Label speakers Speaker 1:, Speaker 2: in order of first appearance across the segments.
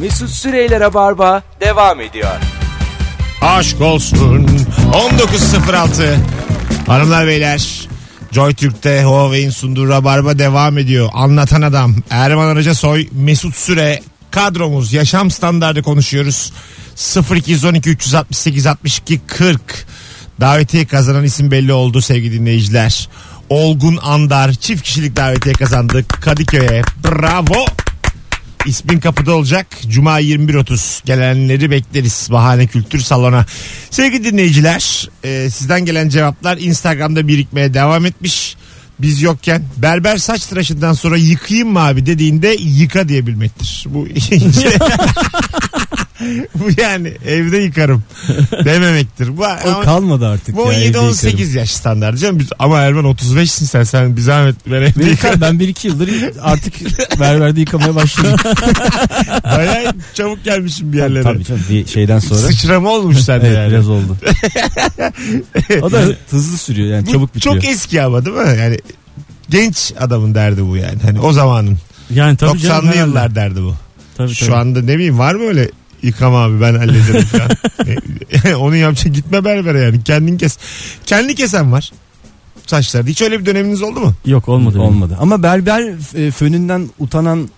Speaker 1: Mesut Süreyler'e barba devam ediyor.
Speaker 2: Aşk olsun. 19.06. Hanımlar beyler. Joy Türk'te Huawei'in sunduğu Rabarba devam ediyor. Anlatan adam Erman Araca Soy, Mesut Süre, kadromuz, yaşam standardı konuşuyoruz. 0212 368 62 40. Davetiye kazanan isim belli oldu sevgili dinleyiciler. Olgun Andar çift kişilik davetiye kazandık Kadıköy'e. Bravo. İsmin kapıda olacak. Cuma 21.30 gelenleri bekleriz. Bahane Kültür Salonu. Sevgili dinleyiciler e, sizden gelen cevaplar Instagram'da birikmeye devam etmiş. Biz yokken berber saç tıraşından sonra yıkayayım mı abi dediğinde yıka diyebilmektir. Bu ince. Bu yani evde yıkarım dememektir. Bu,
Speaker 3: O
Speaker 2: ama-
Speaker 3: kalmadı artık.
Speaker 2: bu
Speaker 3: ya, evde yıkarım.
Speaker 2: 17-18 yaş standartı canım. Biz, ama Erman 35'sin sen. Sen bir zahmet ver evde
Speaker 3: Ben,
Speaker 2: yıkar.
Speaker 3: yıkar- ben bir iki yıldır artık berberde yıkamaya başladım.
Speaker 2: Bayağı çabuk gelmişim bir yerlere.
Speaker 3: Tabii canım bir şeyden sonra.
Speaker 2: Sıçrama olmuş sende
Speaker 3: Evet,
Speaker 2: yani.
Speaker 3: biraz oldu. o da hızlı sürüyor yani
Speaker 2: Bu
Speaker 3: çabuk bitiyor.
Speaker 2: çok eski ama değil mi? Yani genç adamın derdi bu yani. Hani o zamanın.
Speaker 4: Yani tabii
Speaker 2: 90'lı
Speaker 4: canım, herhalde.
Speaker 2: yıllar derdi bu.
Speaker 4: Tabii,
Speaker 2: Şu
Speaker 4: tabii.
Speaker 2: anda ne bileyim var mı öyle yıkama abi ben hallederim falan. E, Onu yapacak gitme berbere yani. Kendin kes. Kendi kesen var. Saçlarda. Hiç öyle bir döneminiz oldu mu?
Speaker 4: Yok olmadı. benim.
Speaker 3: Olmadı. Ama berber e, fönünden utanan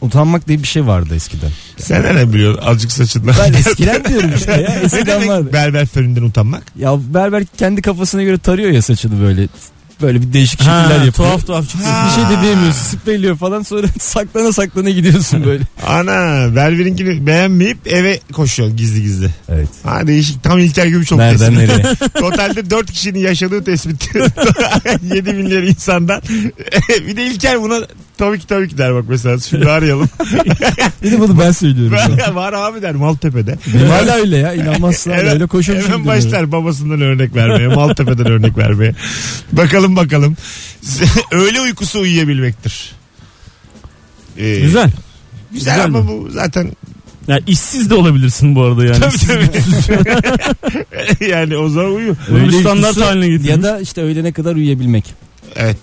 Speaker 3: utanmak diye bir şey vardı eskiden.
Speaker 2: Sen ne biliyorsun azıcık saçından.
Speaker 3: Ben eskiden diyorum işte ya.
Speaker 2: ne
Speaker 3: Eskiden
Speaker 2: demek
Speaker 3: vardı.
Speaker 2: berber fönünden utanmak?
Speaker 3: Ya berber kendi kafasına göre tarıyor ya saçını böyle. Böyle bir değişik şekiller
Speaker 4: Ha,
Speaker 3: yapıyor.
Speaker 4: tuhaf tuhaf çıktı.
Speaker 2: Ha.
Speaker 3: Bir şey de diyemiyorsun. Spreyliyor falan sonra saklana saklana gidiyorsun böyle.
Speaker 2: Ana berberinkini beğenmeyip eve koşuyor gizli gizli.
Speaker 3: Evet.
Speaker 2: Ha değişik tam İlker Gümüşoluk
Speaker 3: Nereden
Speaker 2: tespiti.
Speaker 3: nereye?
Speaker 2: Totalde 4 kişinin yaşadığı tespit. 7 milyar insandan. bir de İlker buna tabii ki tabii ki der bak mesela şimdi arayalım.
Speaker 3: Bir de bunu ben söylüyorum. sana.
Speaker 2: Var abi der Maltepe'de.
Speaker 3: Benim hala öyle ya. inanmazsın hala
Speaker 2: Hemen-
Speaker 3: öyle koşamışım.
Speaker 2: Hemen
Speaker 3: gidiyorum.
Speaker 2: başlar babasından örnek vermeye. Maltepe'den örnek vermeye. Bakalım bakalım. Öğle uykusu uyuyabilmektir. Ee,
Speaker 4: Güzel.
Speaker 2: Güzel,
Speaker 4: Güzel
Speaker 2: ama
Speaker 4: mi?
Speaker 2: bu zaten
Speaker 4: Yani işsiz de olabilirsin bu arada yani.
Speaker 2: Tabii,
Speaker 4: İşsiz-
Speaker 2: tabii.
Speaker 4: işsiz-
Speaker 2: yani o zaman uyu.
Speaker 4: Bunu
Speaker 3: Öğle
Speaker 4: standart
Speaker 3: uykusu
Speaker 4: haline getirmiş.
Speaker 3: Ya da işte öğlene kadar uyuyabilmek.
Speaker 2: Evet.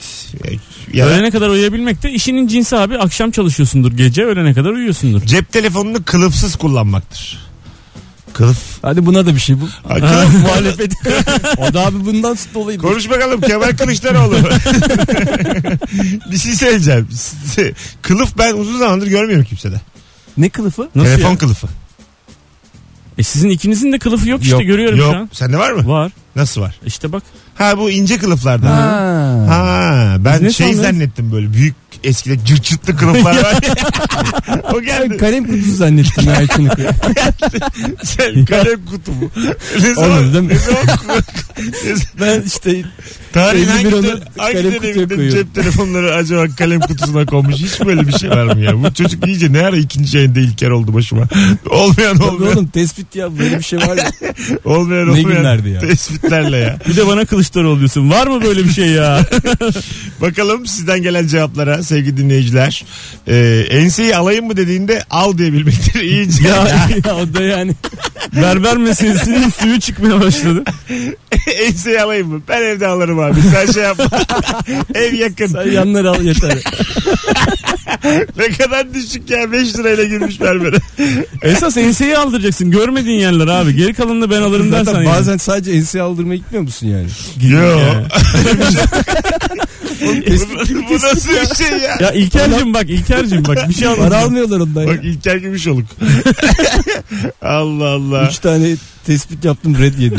Speaker 2: Ya da
Speaker 4: Öğlene kadar uyuyabilmek de işinin cinsi abi. Akşam çalışıyorsundur gece öğlene kadar uyuyorsundur.
Speaker 2: cep telefonunu kılıfsız kullanmaktır. Kılıf.
Speaker 3: Hadi buna da bir şey bu.
Speaker 2: Ha, kılıf.
Speaker 3: Muhalefet. o da abi bundan dolayı.
Speaker 2: Konuş bakalım Kemal Kılıçdaroğlu. bir şey söyleyeceğim. Kılıf ben uzun zamandır görmüyorum kimsede.
Speaker 3: Ne kılıfı?
Speaker 4: Nasıl
Speaker 2: Telefon
Speaker 4: ya?
Speaker 2: kılıfı.
Speaker 4: E sizin ikinizin de kılıfı yok,
Speaker 3: Yok,
Speaker 4: işte görüyorum şu an.
Speaker 2: Yok. Sende var mı?
Speaker 4: Var.
Speaker 2: Nasıl var?
Speaker 4: İşte bak.
Speaker 2: Ha bu ince kılıflardan. Ha.
Speaker 3: Ha.
Speaker 2: ben
Speaker 4: Biz ne
Speaker 2: şey
Speaker 4: sanıyoruz?
Speaker 2: zannettim böyle büyük eskide cırcırtlı kılıflar var. ya. o
Speaker 3: Ben
Speaker 2: geldi.
Speaker 3: kalem kutusu zannettim ya içini.
Speaker 2: Sen kalem kutu bu. Ne
Speaker 3: Olur değil
Speaker 2: zaman?
Speaker 3: mi?
Speaker 2: Ne zaman? ne
Speaker 3: Ben işte
Speaker 2: Tarihin
Speaker 3: 51
Speaker 2: hangi,
Speaker 3: onu
Speaker 2: dön- hangi
Speaker 3: kalem kutuya
Speaker 2: döneminde
Speaker 3: koyuyor.
Speaker 2: cep telefonları acaba kalem kutusuna konmuş? Hiç böyle bir şey var mı ya? Bu çocuk iyice ne ara ikinci yayında İlker oldu başıma. Olmayan olmayan.
Speaker 3: oğlum tespit ya böyle bir şey var ya.
Speaker 2: Olmayan
Speaker 3: Ne
Speaker 2: olmayan.
Speaker 3: günlerdi ya?
Speaker 2: Tespitlerle ya.
Speaker 4: Bir de bana Kılıçdaroğlu diyorsun. Var mı böyle bir şey ya?
Speaker 2: Bakalım sizden gelen cevaplara sevgili dinleyiciler. Ee, enseyi alayım mı dediğinde al diyebilmektir. İyice.
Speaker 3: ya, ya o da yani.
Speaker 4: Berber meselesinin suyu çıkmaya başladı.
Speaker 2: enseyi alayım mı? Ben evde alırım abi. Sen şey yapma. Ev yakın.
Speaker 3: Sen yanları al yeter.
Speaker 2: Ne kadar düşük ya. 5 lirayla girmiş berbere.
Speaker 4: Esas enseyi aldıracaksın. Görmediğin yerler abi. Geri kalanını ben alırım dersen.
Speaker 3: Zaten
Speaker 4: yani.
Speaker 3: bazen sadece ense aldırmaya gitmiyor musun yani?
Speaker 2: Yo.
Speaker 4: Yani.
Speaker 2: bu, bu nasıl bir şey ya?
Speaker 4: Ya İlker'cim bak İlker'cim bak bir şey
Speaker 3: Para
Speaker 4: anlatacağım.
Speaker 3: almıyorlar ondan ya.
Speaker 2: Bak İlker Gümüşoluk. Allah Allah.
Speaker 3: Üç tane tespit yaptım red yedim.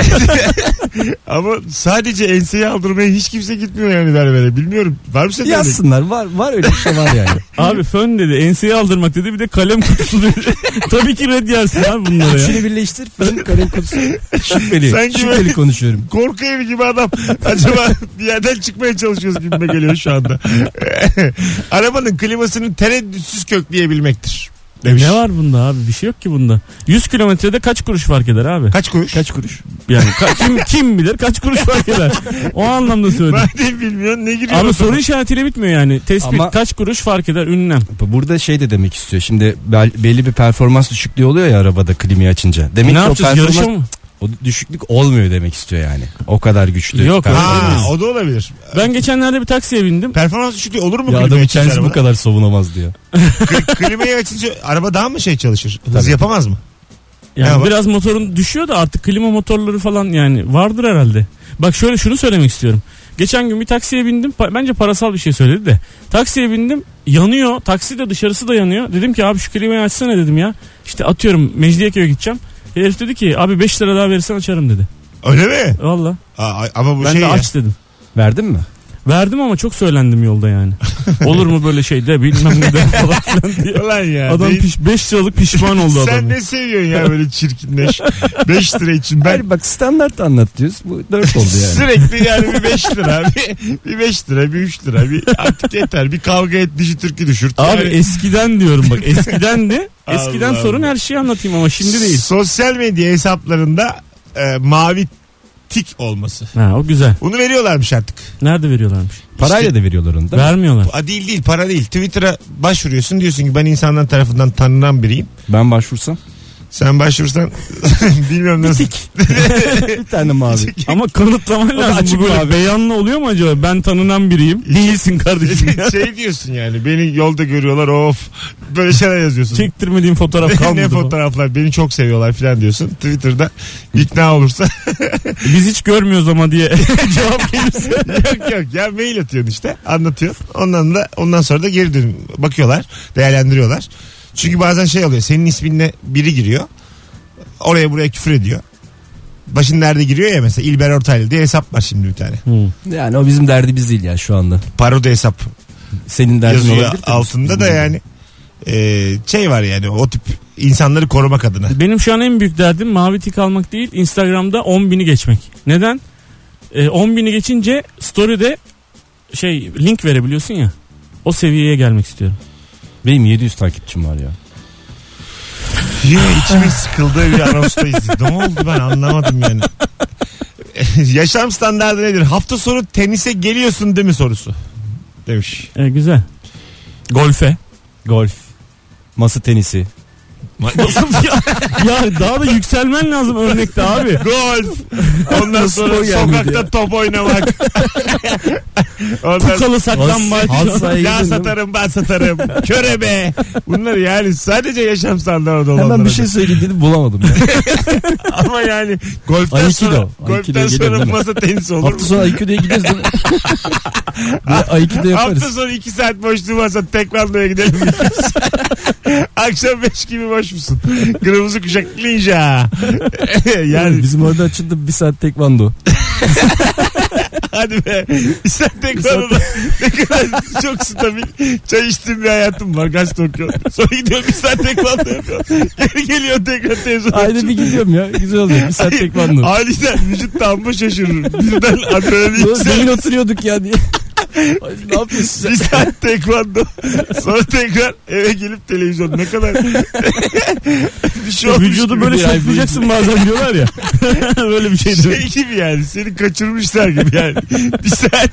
Speaker 2: Ama sadece enseyi aldırmaya hiç kimse gitmiyor yani berbere. Bilmiyorum. Var mı senin örneğin?
Speaker 3: Yazsınlar var var öyle bir şey var yani.
Speaker 4: Abi fön dedi enseyi aldırmak dedi bir de kalem kutusu dedi. Tabii ki red yersin abi bunlara ya.
Speaker 3: Üçünü birleştir fön kalem kutusu. Şüpheli.
Speaker 2: Sanki
Speaker 3: şüpheli
Speaker 2: böyle-
Speaker 3: konuşuyorum.
Speaker 2: Korku evi gibi adam. Acaba bir yerden çıkmaya çalışıyoruz gibime geliyor şu anda. Arabanın klimasını tereddütsüz kökleyebilmektir. Demiş.
Speaker 4: E Ne var bunda abi bir şey yok ki bunda. 100 kilometrede kaç kuruş fark eder abi?
Speaker 2: Kaç kuruş?
Speaker 3: Kaç kuruş?
Speaker 4: Yani ka- kim, kim bilir kaç kuruş fark eder? O anlamda söyledim.
Speaker 2: Madem bilmiyorsun ne giriyor?
Speaker 4: Abi soru işaretiyle bitmiyor yani. Tespit
Speaker 3: Ama-
Speaker 4: kaç kuruş fark eder ünlem.
Speaker 3: Burada şey de demek istiyor. Şimdi bel- belli bir performans düşüklüğü oluyor ya arabada klimi açınca. Demek
Speaker 4: ne
Speaker 3: ki o
Speaker 4: yapacağız
Speaker 3: performans
Speaker 4: yarışa mı?
Speaker 3: O düşüklük olmuyor demek istiyor yani. O kadar güçlü.
Speaker 4: Yok,
Speaker 3: Tamam.
Speaker 4: öyle
Speaker 2: Ha,
Speaker 4: değil.
Speaker 2: o da olabilir.
Speaker 4: Ben geçenlerde bir taksiye bindim.
Speaker 2: Performans düşüklüğü olur mu
Speaker 3: Ya
Speaker 2: klimayı
Speaker 3: adamın
Speaker 2: açınca
Speaker 3: kendisi bu
Speaker 2: arabada?
Speaker 3: kadar savunamaz diyor.
Speaker 2: Kli- klimayı açınca araba daha mı şey çalışır? Hız
Speaker 3: Tabii.
Speaker 2: yapamaz mı?
Speaker 4: Yani
Speaker 2: Ya bak-
Speaker 4: biraz motorun düşüyor da artık klima motorları falan yani vardır herhalde. Bak şöyle şunu söylemek istiyorum. Geçen gün bir taksiye bindim. Pa- bence parasal bir şey söyledi de. Taksiye bindim. Yanıyor. Taksi de dışarısı da yanıyor. Dedim ki abi şu klimayı açsana dedim ya. İşte atıyorum Mecidiyeköy'e gideceğim. Herif dedi ki abi 5 lira daha verirsen açarım dedi.
Speaker 2: Öyle mi?
Speaker 4: Valla.
Speaker 2: Aa, ama bu
Speaker 4: Ben
Speaker 2: şey
Speaker 4: de
Speaker 2: ya.
Speaker 4: aç dedim.
Speaker 3: Verdin mi?
Speaker 4: Verdim ama çok söylendim yolda yani. Olur mu böyle şey de bilmem ne de falan filan diye.
Speaker 2: Ulan ya.
Speaker 4: Adam
Speaker 2: değil-
Speaker 4: 5 liralık pişman oldu adam.
Speaker 2: Sen ne seviyorsun ya böyle çirkinleş. 5 lira için ben
Speaker 3: Hayır bak standart anlatıyoruz. Bu 4 oldu yani.
Speaker 2: Sürekli yani bir 5 lira, bir- bir 5 lira, bir 3 lira, bir artık yeter. Bir kavga et, dişi türkü düşürt.
Speaker 4: Abi e,
Speaker 2: Yani
Speaker 4: eskiden diyorum bak eskiden de eskiden
Speaker 2: Allah
Speaker 4: sorun
Speaker 2: Allah.
Speaker 4: her şeyi anlatayım ama şimdi değil.
Speaker 2: Sosyal medya hesaplarında e, mavi tik olması.
Speaker 4: Ha o güzel.
Speaker 2: Bunu veriyorlarmış artık.
Speaker 4: Nerede veriyorlarmış?
Speaker 3: Parayla da veriyorlar onu da.
Speaker 4: Vermiyorlar.
Speaker 2: A, değil değil para değil. Twitter'a başvuruyorsun diyorsun ki ben insanlar tarafından tanınan biriyim.
Speaker 3: Ben başvursam
Speaker 2: Sen başvursan bilmiyorum nasıl.
Speaker 3: bir tane mavi.
Speaker 4: Ama kanıtlaman lazım.
Speaker 3: açık
Speaker 4: Bu böyle
Speaker 3: abi.
Speaker 4: beyanlı oluyor mu acaba? Ben tanınan biriyim. Değilsin kardeşim ya.
Speaker 2: şey diyorsun yani beni yolda görüyorlar of böyle şeyler yazıyorsun.
Speaker 4: Çektirmediğim fotoğraf
Speaker 2: ne
Speaker 4: kalmadı. bu.
Speaker 2: fotoğraflar beni çok seviyorlar filan diyorsun. Twitter'da ikna olursa
Speaker 4: E Biz hiç görmüyoruz ama diye cevap gelirse.
Speaker 2: yok yok ya mail atıyorsun işte anlatıyorsun. Ondan da ondan sonra da geri dön bakıyorlar değerlendiriyorlar. Çünkü bazen şey oluyor senin isminle biri giriyor oraya buraya küfür ediyor. Başın nerede giriyor ya mesela İlber Ortaylı diye hesap var şimdi bir tane.
Speaker 3: Yani o bizim derdimiz değil ya şu anda.
Speaker 2: Parodi hesap
Speaker 3: Senin derdin
Speaker 2: yazıyor
Speaker 3: olabilir. de
Speaker 2: altında
Speaker 3: bizim
Speaker 2: da
Speaker 3: derdimiz.
Speaker 2: yani e, şey var yani o tip insanları korumak adına.
Speaker 4: Benim şu an en büyük derdim mavi tik almak değil. Instagram'da 10 bini geçmek. Neden? Ee, 10 bini geçince story'de şey link verebiliyorsun ya. O seviyeye gelmek istiyorum.
Speaker 3: Benim 700 takipçim var ya.
Speaker 2: Yine içimin sıkıldığı bir anonstayız. ne oldu ben anlamadım yani. Yaşam standardı nedir? Hafta sonu tenise geliyorsun değil mi sorusu? Demiş.
Speaker 4: Ee, güzel. Golfe.
Speaker 3: Golf. Masa tenisi.
Speaker 4: ya, ya daha da yükselmen lazım örnekte abi.
Speaker 2: Golf. Ondan sonra
Speaker 3: Spor gelmedi
Speaker 2: sokakta
Speaker 3: ya.
Speaker 2: top oynamak. Ondan
Speaker 4: Kukalı saklanmaç.
Speaker 3: Has- has- Sahaya
Speaker 2: ya
Speaker 3: gidin,
Speaker 2: satarım ben satarım. Körebe. Bunlar yani sadece yaşam standartı olanlar.
Speaker 3: Hemen bir şey söylediğini bulamadım. Ya.
Speaker 2: Ama yani golften
Speaker 3: Aikido.
Speaker 2: sonra,
Speaker 3: Aikido
Speaker 2: golften
Speaker 3: geliyor
Speaker 2: sonra
Speaker 3: değil mi?
Speaker 2: masa tenisi olur mu?
Speaker 3: Hafta sonu Aikido'ya gidiyoruz değil mi? Bir Aikido
Speaker 2: Hafta
Speaker 3: yaparız.
Speaker 2: sonu 2 saat boş durmazsan tekvandoya gidelim. Akşam 5 gibi boş musun? Kırmızı kuşak ninja. yani
Speaker 3: Bizim orada açıldı bir saat tekvando.
Speaker 2: hadi be. Sen tekvandoda ne kadar çok stabil çay içtiğim bir hayatım var. Gaz okuyor. Sonra gidiyorum bir saat tekvando yapıyorum. Geri geliyor tekrar televizyon.
Speaker 3: Ayda bir gidiyorum ya. Güzel oluyor. Bir saat tekvando.
Speaker 2: Aniden vücut damma şaşırır. Birden adrenalin
Speaker 3: Böyle
Speaker 2: yükselir.
Speaker 3: Demin oturuyorduk ya diye. Ay, ne yapıyorsun sen?
Speaker 2: Bir saat tekvando. Sonra tekrar eve gelip televizyon. Ne kadar bir şey olmuş
Speaker 4: Vücudu
Speaker 2: gibi.
Speaker 4: böyle
Speaker 3: Bir ay
Speaker 4: şoklayacaksın bazen diyorlar ya. Böyle bir şey diyor.
Speaker 2: şey gibi yani seni kaçırmışlar gibi yani. bir saat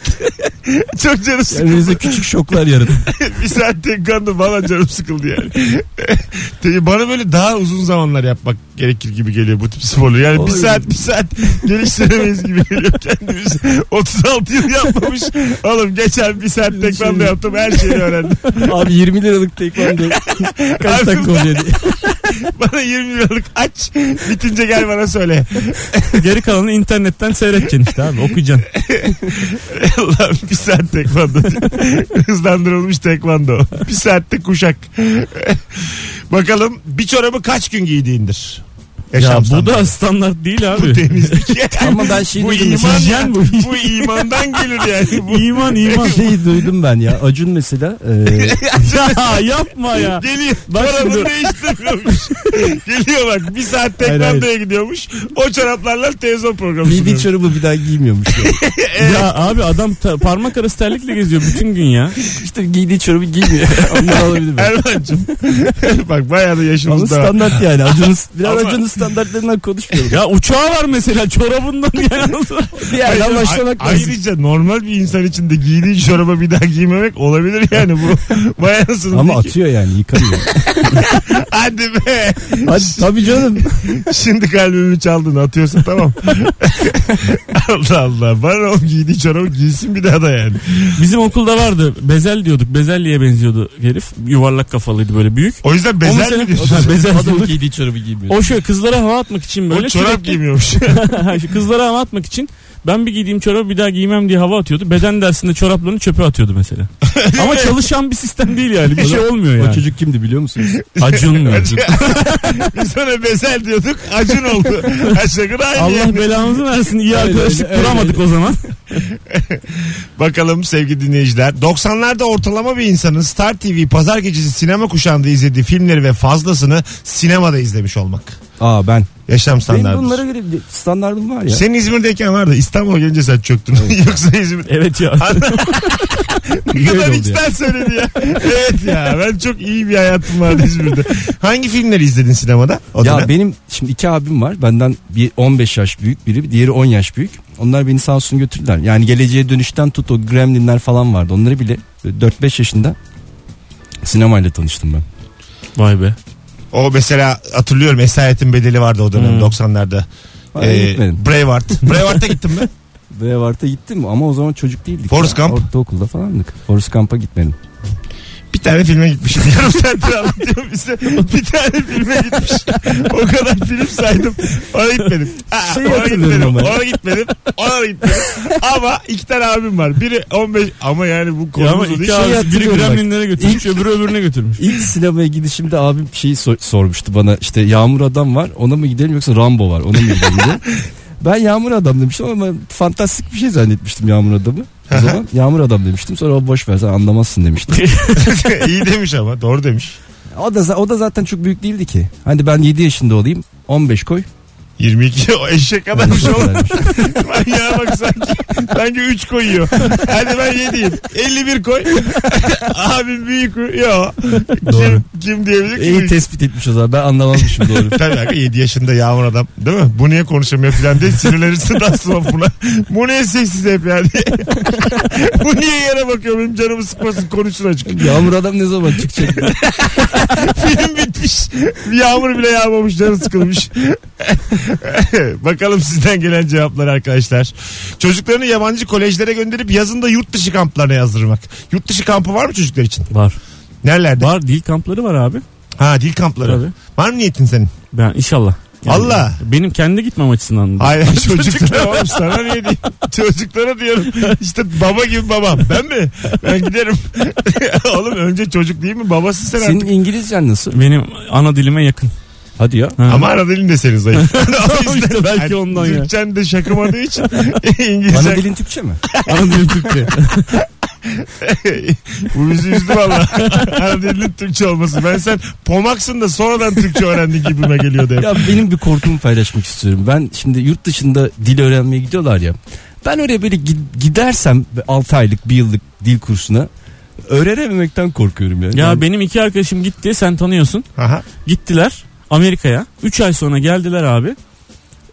Speaker 2: çok canım
Speaker 3: Yani
Speaker 2: sıkıldı.
Speaker 3: bize küçük şoklar yaratın.
Speaker 2: bir saat tekrandı bana canım sıkıldı yani. Te- bana böyle daha uzun zamanlar yapmak gerekir gibi geliyor bu tip sporları. Yani bir
Speaker 3: Olabilir.
Speaker 2: saat bir saat geliştiremeyiz gibi geliyor kendimiz. 36 yıl yapmamış. Oğlum geçen bir saat tekrandı
Speaker 3: Şey-
Speaker 2: yaptım her şeyi öğrendim.
Speaker 3: Abi 20 liralık tekvando. Kaç dakika oluyor diye.
Speaker 2: Bana 20 liralık aç bitince gel bana söyle.
Speaker 4: Geri kalanı internetten seyredeceksin işte abi okuyacaksın.
Speaker 2: Allah'ım bir saat tekvando. Hızlandırılmış tekvando. Bir saatte kuşak. Bakalım bir çorabı kaç gün giydiğindir?
Speaker 4: Ya
Speaker 2: Yaşam
Speaker 4: bu
Speaker 2: standartı.
Speaker 4: da standart değil
Speaker 2: bu
Speaker 4: abi.
Speaker 2: temizlik.
Speaker 3: Ama ben şey
Speaker 2: bu
Speaker 3: duydum. ya.
Speaker 2: iman
Speaker 4: hijyen
Speaker 2: ya.
Speaker 4: bu.
Speaker 2: bu imandan gelir yani. Bu
Speaker 4: İman iman.
Speaker 3: Şeyi duydum ben ya. Acun mesela. e, eee,
Speaker 4: ya yapma ya.
Speaker 2: Geliyor.
Speaker 4: Bak
Speaker 2: Çorabını
Speaker 4: şimdi-
Speaker 2: değiştirmiyormuş. Geliyor bak. Bir saat
Speaker 3: Hayır,
Speaker 2: tekvandoya gidiyormuş. O çoraplarla televizyon programı
Speaker 3: BB
Speaker 2: sunuyormuş.
Speaker 3: çorabı bir daha giymiyormuş. ya.
Speaker 4: Ya abi adam ta- parmak arası terlikle geziyor bütün gün ya.
Speaker 3: İşte giydiği çorabı giymiyor. Ondan alabilir mi?
Speaker 2: Erman'cığım. bak bayağı da
Speaker 3: Ama
Speaker 2: yaşımız da var.
Speaker 3: standart yani. Acınız, biraz
Speaker 2: Ama-
Speaker 3: acınız standartlarından konuşmuyorum.
Speaker 4: Ya uçağı var mesela çorabından yani.
Speaker 3: Bir yerden
Speaker 2: Ay-
Speaker 3: başlamak
Speaker 2: ay-
Speaker 3: lazım.
Speaker 2: Ayrıca normal bir insan için de giydiğin çorabı bir daha giymemek olabilir yani bu. Bayasın.
Speaker 3: Ama atıyor yani yıkanıyor.
Speaker 2: Hadi be.
Speaker 3: Hadi tabii canım.
Speaker 2: Şimdi kalbimi çaldın atıyorsun tamam. Allah Allah. Bana o giydiği çorabı giysin bir daha da yani.
Speaker 4: Bizim okulda vardı. Bezel diyorduk. Bezelliye benziyordu herif. Yuvarlak kafalıydı böyle büyük.
Speaker 2: O yüzden bezel mi diyorsun?
Speaker 4: Bezel diyorduk.
Speaker 3: giydiği çorabı giymiyor.
Speaker 4: O şöyle kızlara hava atmak için böyle
Speaker 2: O çorap
Speaker 4: sürekli-
Speaker 2: giymiyormuş.
Speaker 4: Şu kızlara hava atmak için ben bir giydiğim çorabı bir daha giymem diye hava atıyordu. Beden dersinde çoraplarını çöpe atıyordu mesela. Ama çalışan bir sistem değil yani. Bir şey olmuyor
Speaker 3: O
Speaker 4: yani.
Speaker 3: çocuk kimdi biliyor musunuz?
Speaker 4: Acun mu?
Speaker 2: Biz sana bezel diyorduk. Acun oldu. Aşağı aynı.
Speaker 4: Allah belanızı versin. İyi arkadaşlık kuramadık o zaman.
Speaker 2: Bakalım sevgili dinleyiciler. 90'larda ortalama bir insanın Star TV pazar gecesi sinema kuşağında izlediği filmleri ve fazlasını sinemada izlemiş olmak.
Speaker 3: Aa ben.
Speaker 2: Yaşam
Speaker 3: Benim
Speaker 2: standartı.
Speaker 3: bunlara göre bir standardım var ya.
Speaker 2: Senin İzmir'deyken vardı. İstanbul'a gelince sen çöktün. Yoksa İzmir.
Speaker 4: Evet ya.
Speaker 2: Ne
Speaker 3: Öyle
Speaker 2: kadar
Speaker 3: oldu
Speaker 2: içten söyledi ya. evet ya ben çok iyi bir hayatım vardı İzmir'de. Hangi filmleri izledin sinemada? O
Speaker 3: Ya
Speaker 2: dönem?
Speaker 3: benim şimdi iki abim var. Benden bir 15 yaş büyük biri, diğeri 10 yaş büyük. Onlar beni Samsun götürdüler. Yani geleceğe dönüşten tut o Gremlinler falan vardı. Onları bile 4-5 yaşında sinemayla tanıştım ben.
Speaker 4: Vay be.
Speaker 2: O mesela hatırlıyorum Esaretin Bedeli vardı o dönem
Speaker 4: Hmm.
Speaker 2: 90'larda.
Speaker 3: Hayır gitmedim.
Speaker 2: Braveheart. Braveheart'a gittim mi?
Speaker 3: Brevart'a gittim ama o zaman çocuk değildik.
Speaker 2: Forrest
Speaker 3: ya.
Speaker 2: Gump.
Speaker 3: Ortaokulda falandık. Forrest Gump'a gitmedim.
Speaker 2: Bir tane filme gitmişim. Yarım saattir anlatıyorum bize. Bir tane filme gitmiş. O kadar film saydım. Ona gitmedim. Aa,
Speaker 3: Şeyi
Speaker 2: ona
Speaker 3: Şey hatırlıyorum
Speaker 2: gitmedim.
Speaker 3: ama.
Speaker 2: Ona gitmedim. Ona da gitmedim. Ama iki tane abim var. Biri 15 ama yani bu
Speaker 4: Ya ama
Speaker 2: konumuz
Speaker 4: iki
Speaker 2: değil.
Speaker 3: şey
Speaker 4: abisi biri
Speaker 3: hatırlıyorum bak.
Speaker 4: Gremlinlere götürmüş öbürü öbürüne götürmüş.
Speaker 3: İlk sinemaya gidişimde abim şeyi so- sormuştu bana işte Yağmur Adam var ona mı gidelim yoksa Rambo var ona mı gidelim diye. Ben Yağmur Adam demiştim ama ben fantastik bir şey zannetmiştim Yağmur Adam'ı. O zaman Yağmur Adam demiştim sonra o boş ver sen anlamazsın demişti.
Speaker 2: İyi demiş ama doğru demiş.
Speaker 3: O da, za- o da zaten çok büyük değildi ki. Hani ben 7 yaşında olayım 15 koy.
Speaker 2: 22 o eşek
Speaker 3: Yani
Speaker 2: kadarmış
Speaker 3: çok
Speaker 2: oğlum.
Speaker 3: güzelmiş.
Speaker 2: Manyağa bak sanki. Sanki 3 koyuyor. Hadi ben 7'yim. 51 koy. Abim büyük koy. Yo.
Speaker 3: Doğru.
Speaker 2: Kim, kim diyebilir ki?
Speaker 3: İyi
Speaker 2: büyük?
Speaker 3: tespit etmiş o zaman ben anlamazmışım doğru.
Speaker 2: Tabii abi 7 yaşında yağmur adam değil mi? Bu niye konuşamıyor filan diye sinirlenirsin daha sonra buna. Bu niye sessiz hep yani diye. Bu niye yere bakıyor benim canımı sıkmasın konuşsun açık.
Speaker 3: Yağmur Adam ne zaman çıkacak?
Speaker 2: Film bitmiş. Yağmur bile yağmamış canı sıkılmış. Bakalım sizden gelen cevaplar arkadaşlar. Çocuklarını yabancı kolejlere gönderip yazında yurt dışı kamplarına yazdırmak. Yurt dışı kampı var mı çocuklar için?
Speaker 4: Var.
Speaker 2: Nerelerde?
Speaker 4: Var dil kampları var abi.
Speaker 2: Ha dil kampları.
Speaker 4: Tabii.
Speaker 2: Var mı niyetin senin?
Speaker 4: Ben inşallah.
Speaker 2: Valla.
Speaker 4: Benim kendi gitmem açısından. da.
Speaker 2: Hayır çocuklara oğlum sana niye diyeyim? Çocuklara diyorum. İşte baba gibi babam. Ben mi? Ben giderim. oğlum önce çocuk değil mi? Babasın sen
Speaker 3: Senin
Speaker 2: artık.
Speaker 3: İngilizcen nasıl?
Speaker 4: Benim ana dilime yakın.
Speaker 3: Hadi ya.
Speaker 4: Ha.
Speaker 2: Ama ana dilin de senin zayıf. O yüzden
Speaker 4: İşte belki
Speaker 2: hani
Speaker 4: ondan ya.
Speaker 2: Türkçen de şakımadığı için
Speaker 3: Bana
Speaker 2: İngilizce.
Speaker 3: dilin Türkçe mi?
Speaker 4: ana dilim Türkçe.
Speaker 2: Bu bizi üzdü valla. Ana dilinin Türkçe olması. Ben sen pomaksın da sonradan Türkçe öğrendin gibime geliyordu hep.
Speaker 3: Ya benim bir korkumu paylaşmak istiyorum. Ben şimdi yurt dışında dil öğrenmeye gidiyorlar ya. Ben oraya böyle gi- gidersem 6 aylık bir yıllık dil kursuna öğrenememekten korkuyorum yani.
Speaker 4: Ya
Speaker 3: Yani
Speaker 4: benim iki arkadaşım gitti sen tanıyorsun.
Speaker 2: Aha.
Speaker 4: Gittiler Amerika'ya. 3 ay sonra geldiler abi.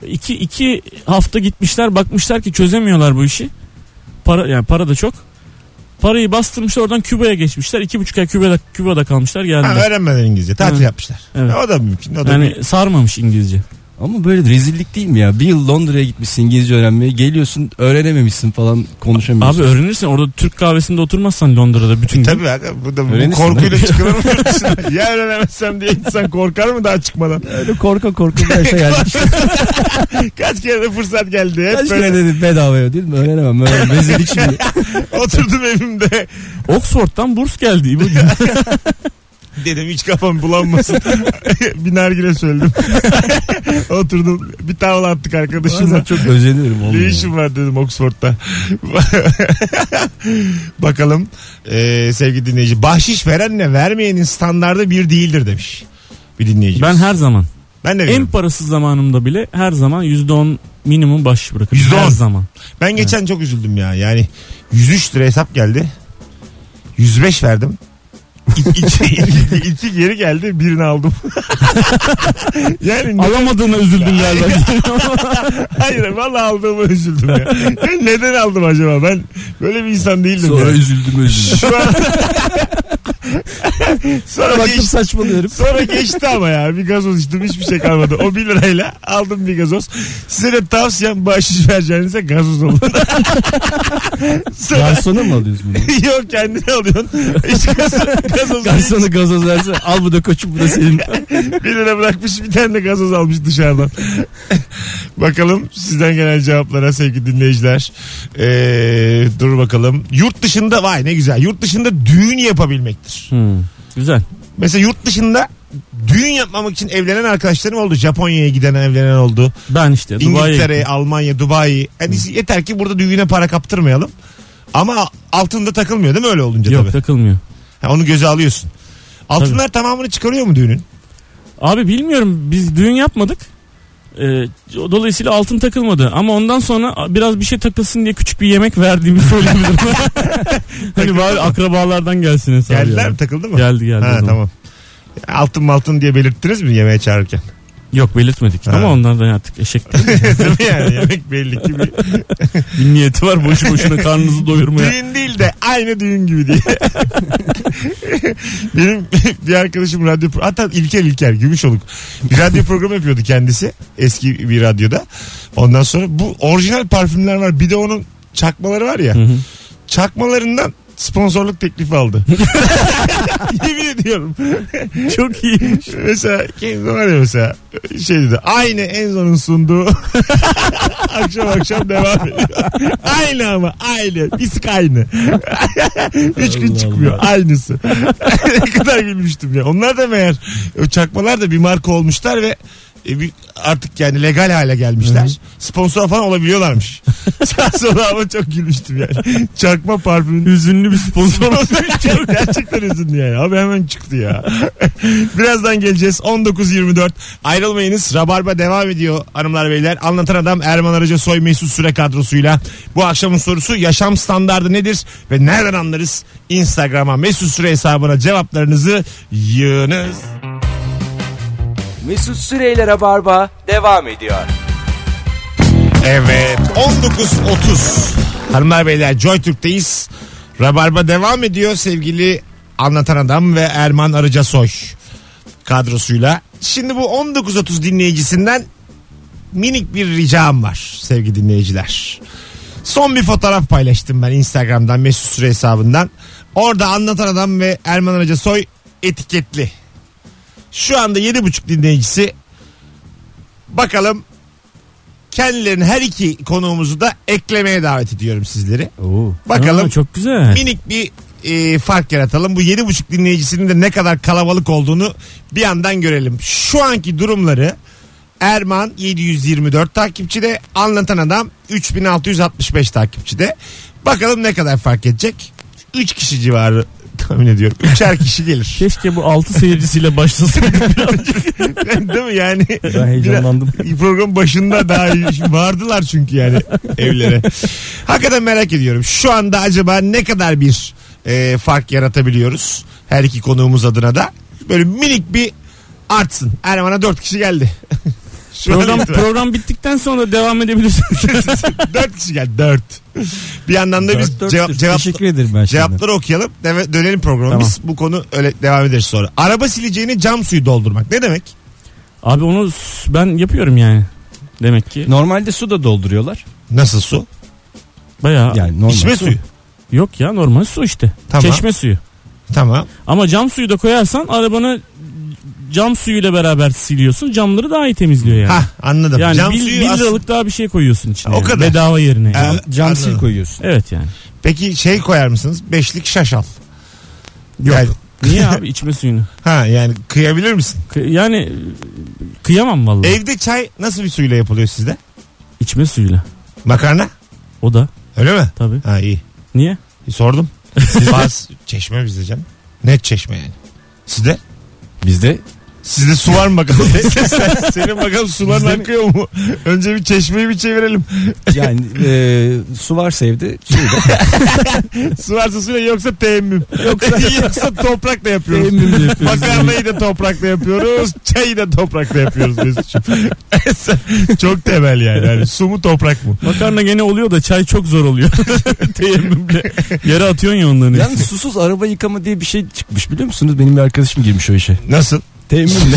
Speaker 4: 2 2 hafta gitmişler bakmışlar ki çözemiyorlar bu işi. Para yani para da çok. Parayı bastırmışlar oradan Küba'ya geçmişler. 2,5 ay Küba'da, Küba'da kalmışlar
Speaker 2: Ha,
Speaker 4: geldiler.
Speaker 2: öğrenmeden İngilizce. Tatil
Speaker 4: Evet.
Speaker 2: yapmışlar.
Speaker 4: Evet.
Speaker 2: O da mümkün. O da mümkün.
Speaker 4: Yani sarmamış İngilizce.
Speaker 3: Ama böyle rezillik değil mi ya? Bir yıl Londra'ya gitmişsin İngilizce öğrenmeye geliyorsun öğrenememişsin falan konuşamıyorsun.
Speaker 4: Abi öğrenirsin orada Türk kahvesinde oturmazsan Londra'da
Speaker 3: E
Speaker 4: bütün gün.
Speaker 2: Tabii aga, bu da bu
Speaker 3: Öğrenirsin
Speaker 2: korkuyla çıkılır mı? yurt dışına? ya öğrenemezsem diye insan korkar mı daha çıkmadan?
Speaker 3: öyle korka korka bir şey geldi.
Speaker 2: Kaç kere de fırsat geldi. Hep
Speaker 3: Kaç kere
Speaker 2: böyle
Speaker 3: dedim bedavaya değil mi? Öğrenemem. öğrenemem. Rezillik şimdi.
Speaker 2: oturdum evimde.
Speaker 4: Oxford'dan burs geldi bu gün.
Speaker 2: Dedim hiç kafam bulanmasın. bir nargile söyledim. oturdum. Bir tavla attık arkadaşımla.
Speaker 3: Bazen çok özeniyorum.
Speaker 2: Ne
Speaker 3: olmuyor.
Speaker 2: işim var dedim Oxford'da. Bakalım ee, sevgili dinleyici. Bahşiş verenle vermeyenin standardı bir değildir demiş. Bir dinleyici.
Speaker 4: ben her zaman
Speaker 2: ben de
Speaker 4: en
Speaker 2: veriyorum.
Speaker 4: parasız zamanımda bile her zaman %10 minimum baş bırakırım.
Speaker 2: %10.
Speaker 4: Her zaman.
Speaker 2: Ben geçen çok üzüldüm ya. Yani 103 lira hesap geldi. 105 verdim. iki, iki, iki geri geldi birini aldım. yani ne-
Speaker 4: Alamadığına üzüldün galiba.
Speaker 2: hayır vallahi aldığıma üzüldüm ya. Ben neden aldım acaba ben böyle bir insan değildim. ya.
Speaker 3: Sonra üzüldüm üzüldüm.
Speaker 2: Şu an... sonra,
Speaker 3: Baktım
Speaker 2: geçti,
Speaker 3: saçmalıyorum.
Speaker 2: sonra geçti ama ya bir gazoz içtim hiçbir şey kalmadı. O 1 lirayla aldım bir gazoz. Size de tavsiyem bahşiş vereceğinize gazoz alın. sonra...
Speaker 3: Garsona mı alıyorsun bunu?
Speaker 2: Yok kendini alıyorsun. Hiç gazoz, gazoz
Speaker 3: Garsona gazoz verse al bu da koçum bu da senin.
Speaker 2: Bir lira bırakmış bir tane de gazoz almış dışarıdan. bakalım sizden gelen cevaplara sevgili dinleyiciler. Ee, dur bakalım. Yurt dışında vay ne güzel. Yurt dışında düğün yapabilmektir.
Speaker 4: Hmm, Güzel.
Speaker 2: Mesela yurt dışında düğün yapmamak için evlenen arkadaşlarım oldu. Japonya'ya giden evlenen oldu.
Speaker 4: Ben işte E, Dubai'ye
Speaker 2: İngiltere, Almanya, Dubai. Yani yeter ki burada düğüne para kaptırmayalım. Ama altında takılmıyor değil mi öyle olunca
Speaker 4: Yok
Speaker 2: tabii.
Speaker 4: takılmıyor.
Speaker 2: Ha, onu göze alıyorsun. Altınlar tamamını çıkarıyor mu düğünün?
Speaker 4: Abi bilmiyorum biz düğün yapmadık. Ee, dolayısıyla altın takılmadı ama ondan sonra biraz bir şey takılsın diye küçük bir yemek verdiğimi söyleyebilirim. hani bari akrabalardan gelsin hesabı.
Speaker 2: Geldiler
Speaker 4: yani.
Speaker 2: mi takıldı mı?
Speaker 4: Geldi geldi. o
Speaker 2: Ha
Speaker 4: zaman.
Speaker 2: tamam. Altın altın diye belirttiniz mi yemeğe çağırırken?
Speaker 4: Yok belirtmedik
Speaker 2: Ha.
Speaker 4: ama onlardan artık eşek değil.
Speaker 2: Değil mi yani yemek belli ki bir
Speaker 4: bir niyeti var boşu boşuna karnınızı doyurmaya.
Speaker 2: düğün değil de aynı düğün gibi diye. Benim bir arkadaşım radyo pro- hatta İlker İlker Gümüşoluk bir radyo programı yapıyordu kendisi eski bir radyoda. Ondan sonra bu orijinal parfümler var bir de onun çakmaları var ya.
Speaker 4: Hı hı.
Speaker 2: Çakmalarından sponsorluk teklifi aldı. Yemin ediyorum.
Speaker 4: Çok iyi.
Speaker 2: Mesela Kenzo var ya mesela şey dedi aynı Enzo'nun sunduğu akşam akşam devam ediyor. Aynı ama aynı. Bisik aynı. Üç gün
Speaker 4: Allah
Speaker 2: çıkmıyor. Aynısı. ne kadar gülmüştüm ya. Onlar da meğer o çakmalar da bir marka olmuşlar ve e, bir- artık yani legal hale gelmişler. Sponsor falan olabiliyorlarmış. Sağ sonra ama çok gülmüştüm yani. Çakma parfümün
Speaker 4: Hüzünlü bir sponsor.
Speaker 2: çok gerçekten üzüldüm yani. Abi hemen çıktı ya. Birazdan geleceğiz. 19.24. Ayrılmayınız. Rabarba devam ediyor hanımlar beyler. Anlatan adam Erman Arıca Soy Mesut Süre kadrosuyla. Bu akşamın sorusu yaşam standardı nedir? Ve nereden anlarız? Instagram'a Mesut Süre hesabına cevaplarınızı yığınız.
Speaker 1: Mesut Süreyler'e barba devam ediyor.
Speaker 2: Evet 19.30 Hanımlar beyler Joy Türk'teyiz Rabarba devam ediyor sevgili Anlatan Adam ve Erman Arıcasoy kadrosuyla Şimdi bu 19.30 dinleyicisinden minik bir ricam var sevgili dinleyiciler Son bir fotoğraf paylaştım ben Instagram'dan Mesut Süre hesabından Orada Anlatan Adam ve Erman Arıcasoy etiketli Şu anda 7.5 dinleyicisi Bakalım kendilerini her iki konuğumuzu da eklemeye davet ediyorum sizleri.
Speaker 3: Oo.
Speaker 2: Bakalım
Speaker 4: Aa, çok güzel.
Speaker 2: minik bir e, fark yaratalım. Bu yedi buçuk dinleyicisinin de ne kadar kalabalık olduğunu bir yandan görelim. Şu anki durumları Erman 724 takipçide, anlatan adam 3665 takipçide. Bakalım ne kadar fark edecek? 3 kişi civarı tahmin ediyorum. Üçer kişi gelir.
Speaker 4: Keşke bu altı seyircisiyle başlasın.
Speaker 2: Değil mi yani?
Speaker 3: Ben heyecanlandım.
Speaker 2: Program başında daha iyi- vardılar çünkü yani evlere. Hakikaten merak ediyorum. Şu anda acaba ne kadar bir e, fark yaratabiliyoruz? Her iki konuğumuz adına da. Böyle minik bir artsın. Erman'a dört kişi geldi. Şu an
Speaker 4: program,
Speaker 2: itibariyle
Speaker 4: program bittikten sonra devam edebilirsiniz.
Speaker 2: dört kişi geldi. Dört. Bir yandan da biz cevap, cevap,
Speaker 3: Teşekkür ederim ben şimdi.
Speaker 2: Cevapları okuyalım. deve- Dönelim programa.
Speaker 3: Tamam.
Speaker 2: Biz bu konu öyle devam ederiz sonra. Araba sileceğini cam suyu doldurmak. Ne demek?
Speaker 4: Abi onu s- ben yapıyorum yani. Demek ki
Speaker 3: Normalde su da dolduruyorlar.
Speaker 2: Nasıl su?
Speaker 4: bayağı
Speaker 3: Yani normal.
Speaker 2: İçme suyu.
Speaker 4: yok ya normal su işte.
Speaker 2: Tamam.
Speaker 4: Çeşme suyu.
Speaker 2: Tamam.
Speaker 4: Ama cam suyu da koyarsan arabanı cam suyuyla beraber siliyorsun. Camları daha iyi temizliyor yani.
Speaker 2: Ha anladım.
Speaker 4: Yani
Speaker 2: cam
Speaker 4: bir,
Speaker 2: suyu
Speaker 4: bir
Speaker 2: aslında-
Speaker 4: liralık daha bir şey koyuyorsun içine.
Speaker 2: O
Speaker 4: yani.
Speaker 2: kadar.
Speaker 4: Bedava yerine. yani.
Speaker 2: Evet.
Speaker 3: Cam
Speaker 2: Anladım.
Speaker 3: sil koyuyorsun.
Speaker 4: Evet yani.
Speaker 2: Peki şey koyar mısınız? Beşlik şaşal.
Speaker 4: Yok.
Speaker 2: Yani-
Speaker 4: Niye abi içme suyunu?
Speaker 2: ha yani kıyabilir misin?
Speaker 4: Kı- yani e, kıyamam vallahi.
Speaker 2: Evde çay nasıl bir suyla yapılıyor sizde?
Speaker 4: İçme suyuyla.
Speaker 2: Makarna?
Speaker 4: O da
Speaker 2: Öyle mi?
Speaker 4: tabii.
Speaker 2: Ha iyi.
Speaker 4: Niye?
Speaker 2: E, Sordum. Siz çeşme bizde canım. Net çeşme yani. Sizde?
Speaker 3: Bizde
Speaker 2: Sizde su var mı bakalım? Sen- Senin bakalım suların akıyor mu? Önce bir çeşmeyi bir çevirelim.
Speaker 3: Yani e, su varsa evde şey suyu da
Speaker 2: Su varsa suyla yoksa teyemmüm. Yoksa, toprakla yapıyoruz.
Speaker 3: Teyemmüm de yapıyoruz.
Speaker 2: Makarnayı da toprakla yapıyoruz. Çayı da toprakla yapıyoruz Mesut'cum. Çok temel yani. yani. Su mu toprak mı?
Speaker 4: Makarna gene oluyor da çay çok zor oluyor. Teyemmümle. Yere atıyorsun ya onların hepsini.
Speaker 3: Yalnız susuz araba yıkama diye bir şey çıkmış biliyor musunuz? Benim bir arkadaşım girmiş o işe.
Speaker 2: Nasıl?
Speaker 3: Teyemmümle.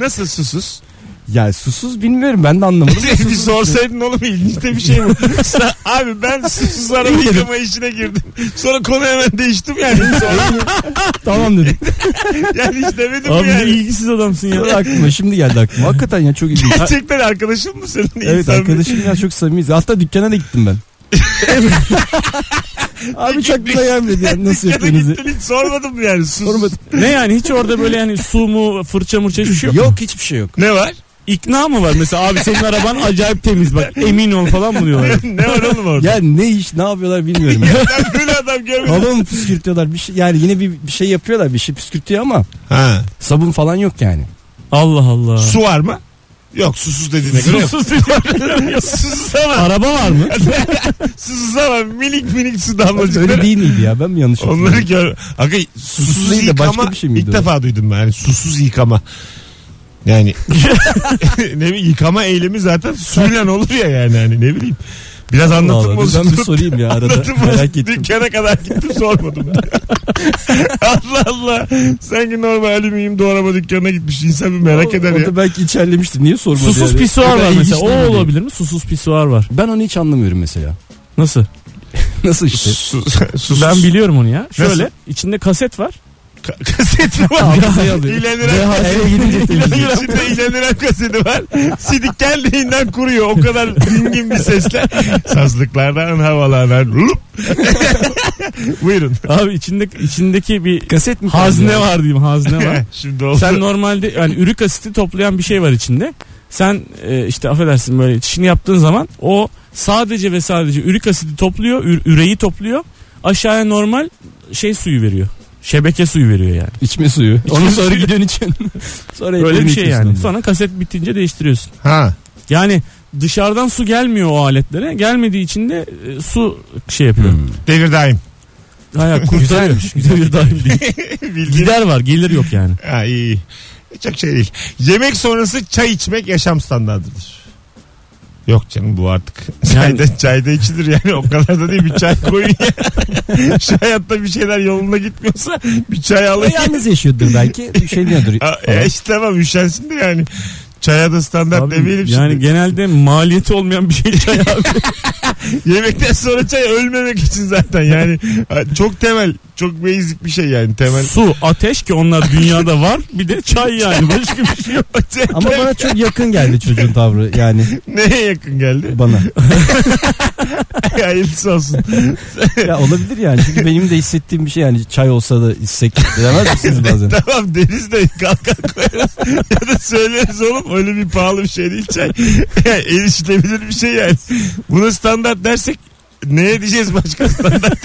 Speaker 2: Nasıl susuz?
Speaker 3: yani susuz bilmiyorum ben de anlamadım.
Speaker 2: bir sorsaydın oğlum ilginç de bir şey bu. Sen- Abi ben susuz araba yıkama işine girdim. Sonra konu hemen değiştim yani.
Speaker 3: tamam dedim.
Speaker 2: Yani hiç demedim
Speaker 4: Abi
Speaker 2: mi
Speaker 4: ne
Speaker 2: yani?
Speaker 4: ilgisiz adamsın ya.
Speaker 3: Ya aklıma şimdi geldi aklıma. Hakikaten ya çok ilginç.
Speaker 2: Gerçekten arkadaşın mı senin?
Speaker 3: Evet
Speaker 2: İnsan bir-
Speaker 3: arkadaşım ya çok samimiyiz. Hatta dükkana da gittim ben. Abi çakla gelmedi yani nasıl
Speaker 2: Ya da
Speaker 3: yaptığınızı.
Speaker 2: gittin hiç sormadım yani. Sus.
Speaker 3: Sormadım.
Speaker 4: Ne yani hiç orada böyle yani su mu fırça mırça hiçbir şey yok.
Speaker 3: Yok hiçbir şey yok.
Speaker 2: Ne var?
Speaker 4: İkna mı var mesela abi senin araban acayip temiz bak emin ol falan mı diyorlar.
Speaker 2: ne var oğlum orada?
Speaker 3: Ya ne iş ne yapıyorlar bilmiyorum.
Speaker 2: Ya ben böyle adam görmedim.
Speaker 3: Balon püskürtüyorlar bir şey yani yine bir, bir şey yapıyorlar bir şey püskürtüyor ama
Speaker 2: Ha.
Speaker 3: sabun falan yok yani.
Speaker 4: Allah Allah.
Speaker 2: Su var mı? Yok susuz dediğine göre yok.
Speaker 4: Susuz diyor.
Speaker 2: Susuz ama.
Speaker 4: Araba var mı?
Speaker 2: Susuz ama minik minik su
Speaker 3: Öyle
Speaker 2: damlacıkları.
Speaker 3: değil miydi ya ben mi yanlış
Speaker 2: Onları gör. Aga susuz,
Speaker 3: Susuz değil de
Speaker 2: yıkama
Speaker 3: başka bir şey miydi
Speaker 2: ilk
Speaker 3: o?
Speaker 2: defa duydum ben. Yani susuz yıkama. Yani ne bileyim yıkama eylemi zaten suyla olur ya yani hani ne bileyim. Biraz anlatım
Speaker 3: Vallahi ben bir
Speaker 2: bozuldu.
Speaker 3: sorayım ya arada
Speaker 2: Anlatım
Speaker 3: merak
Speaker 2: bozuldu.
Speaker 3: ettim.
Speaker 2: Dükkana kadar gittim sormadım. Allah Allah. Sanki normal alüminyum doğrama dükkanına gitmiş. İnsan bir merak eder ya.
Speaker 3: Orada belki içerlemişti niye sormadı
Speaker 4: Susuz
Speaker 3: yani? O
Speaker 4: pisuar
Speaker 3: kadar
Speaker 4: var
Speaker 3: ilginç
Speaker 4: mesela.
Speaker 3: değil mi?
Speaker 4: O olabilir mi? Susuz pisuar var.
Speaker 3: Ben onu hiç anlamıyorum mesela.
Speaker 4: Nasıl?
Speaker 3: Nasıl işte?
Speaker 2: Su- susuz.
Speaker 4: Ben biliyorum onu ya. Şöyle
Speaker 2: Nasıl?
Speaker 4: içinde kaset var.
Speaker 2: Ka- kaset mi var?
Speaker 3: Hafızayı alıyor.
Speaker 2: İğlendiren
Speaker 3: Ve
Speaker 2: kaset.
Speaker 3: eve gidince temizliyor.
Speaker 2: İçinde iğlendiren kaseti var. Sidik geldiğinden kuruyor. O kadar dingin bir sesle. Sazlıklardan havalardan. Lup. Buyurun.
Speaker 4: Abi içinde içindeki bir
Speaker 3: Kaset mi?
Speaker 4: hazne
Speaker 3: kaldı?
Speaker 4: var diyeyim hazne var.
Speaker 2: Şimdi oldu.
Speaker 4: Sen normalde yani ürik asiti toplayan bir şey var içinde. Sen e, işte affedersin böyle çişini yaptığın zaman o sadece ve sadece ürik asiti topluyor, ü- üreyi topluyor. Aşağıya normal şey suyu veriyor. Şebeke suyu veriyor yani.
Speaker 3: İçme suyu. Ondan sonra gidiyorsun için. sonra
Speaker 4: Böyle
Speaker 3: elini
Speaker 4: bir şey
Speaker 3: yıkıyorsun
Speaker 4: yani.
Speaker 3: onunla.
Speaker 4: Sonra kaset bitince değiştiriyorsun.
Speaker 2: Ha.
Speaker 4: Yani dışarıdan su gelmiyor o aletlere. Gelmediği için de e, su şey yapıyor.
Speaker 3: Hmm.
Speaker 2: Devir daim.
Speaker 4: Hayır kurtarıyor. Güzel dahil değil.
Speaker 2: Bildiğin.
Speaker 4: Gider var gelir yok yani.
Speaker 2: Ha, iyi, iyi. Çok şey değil. Yemek sonrası çay içmek yaşam standartıdır. Yok canım bu artık.
Speaker 4: Yani-
Speaker 2: Çayda, çayda içilir yani o kadar da değil bir çay koyun ya. Şu hayatta bir şeyler yoluna gitmiyorsa bir çay
Speaker 3: O
Speaker 2: alın.
Speaker 3: yalnız yaşıyordur belki. şey Üşeniyordur.
Speaker 2: Ha,
Speaker 3: falan.
Speaker 2: e, işte tamam üşensin de yani. Çaya da standart
Speaker 4: Abi,
Speaker 2: demeyelim
Speaker 4: yani
Speaker 2: şimdi.
Speaker 4: genelde maliyeti olmayan bir şey çay abi.
Speaker 2: Yemekten sonra çay ölmemek için zaten yani. Ha, Çok temel, çok basic bir şey yani temel.
Speaker 4: Su, ateş ki onlar dünyada var. Bir de çay yani. Başka bir şey yok.
Speaker 3: Ama bana çok yakın geldi çocuğun tavrı yani
Speaker 2: Neye yakın geldi?
Speaker 3: bana.
Speaker 2: Hayırlısı olsun.
Speaker 3: Ya olabilir yani çünkü benim de hissettiğim bir şey yani çay olsa da içsek demez misiniz bazen?
Speaker 2: Tamam deniz de kalkar koyarız ya da söyleriz oğlum öyle bir pahalı bir şey değil çay. Yani erişilebilir bir şey yani. Buna standart dersek neye diyeceğiz başka standart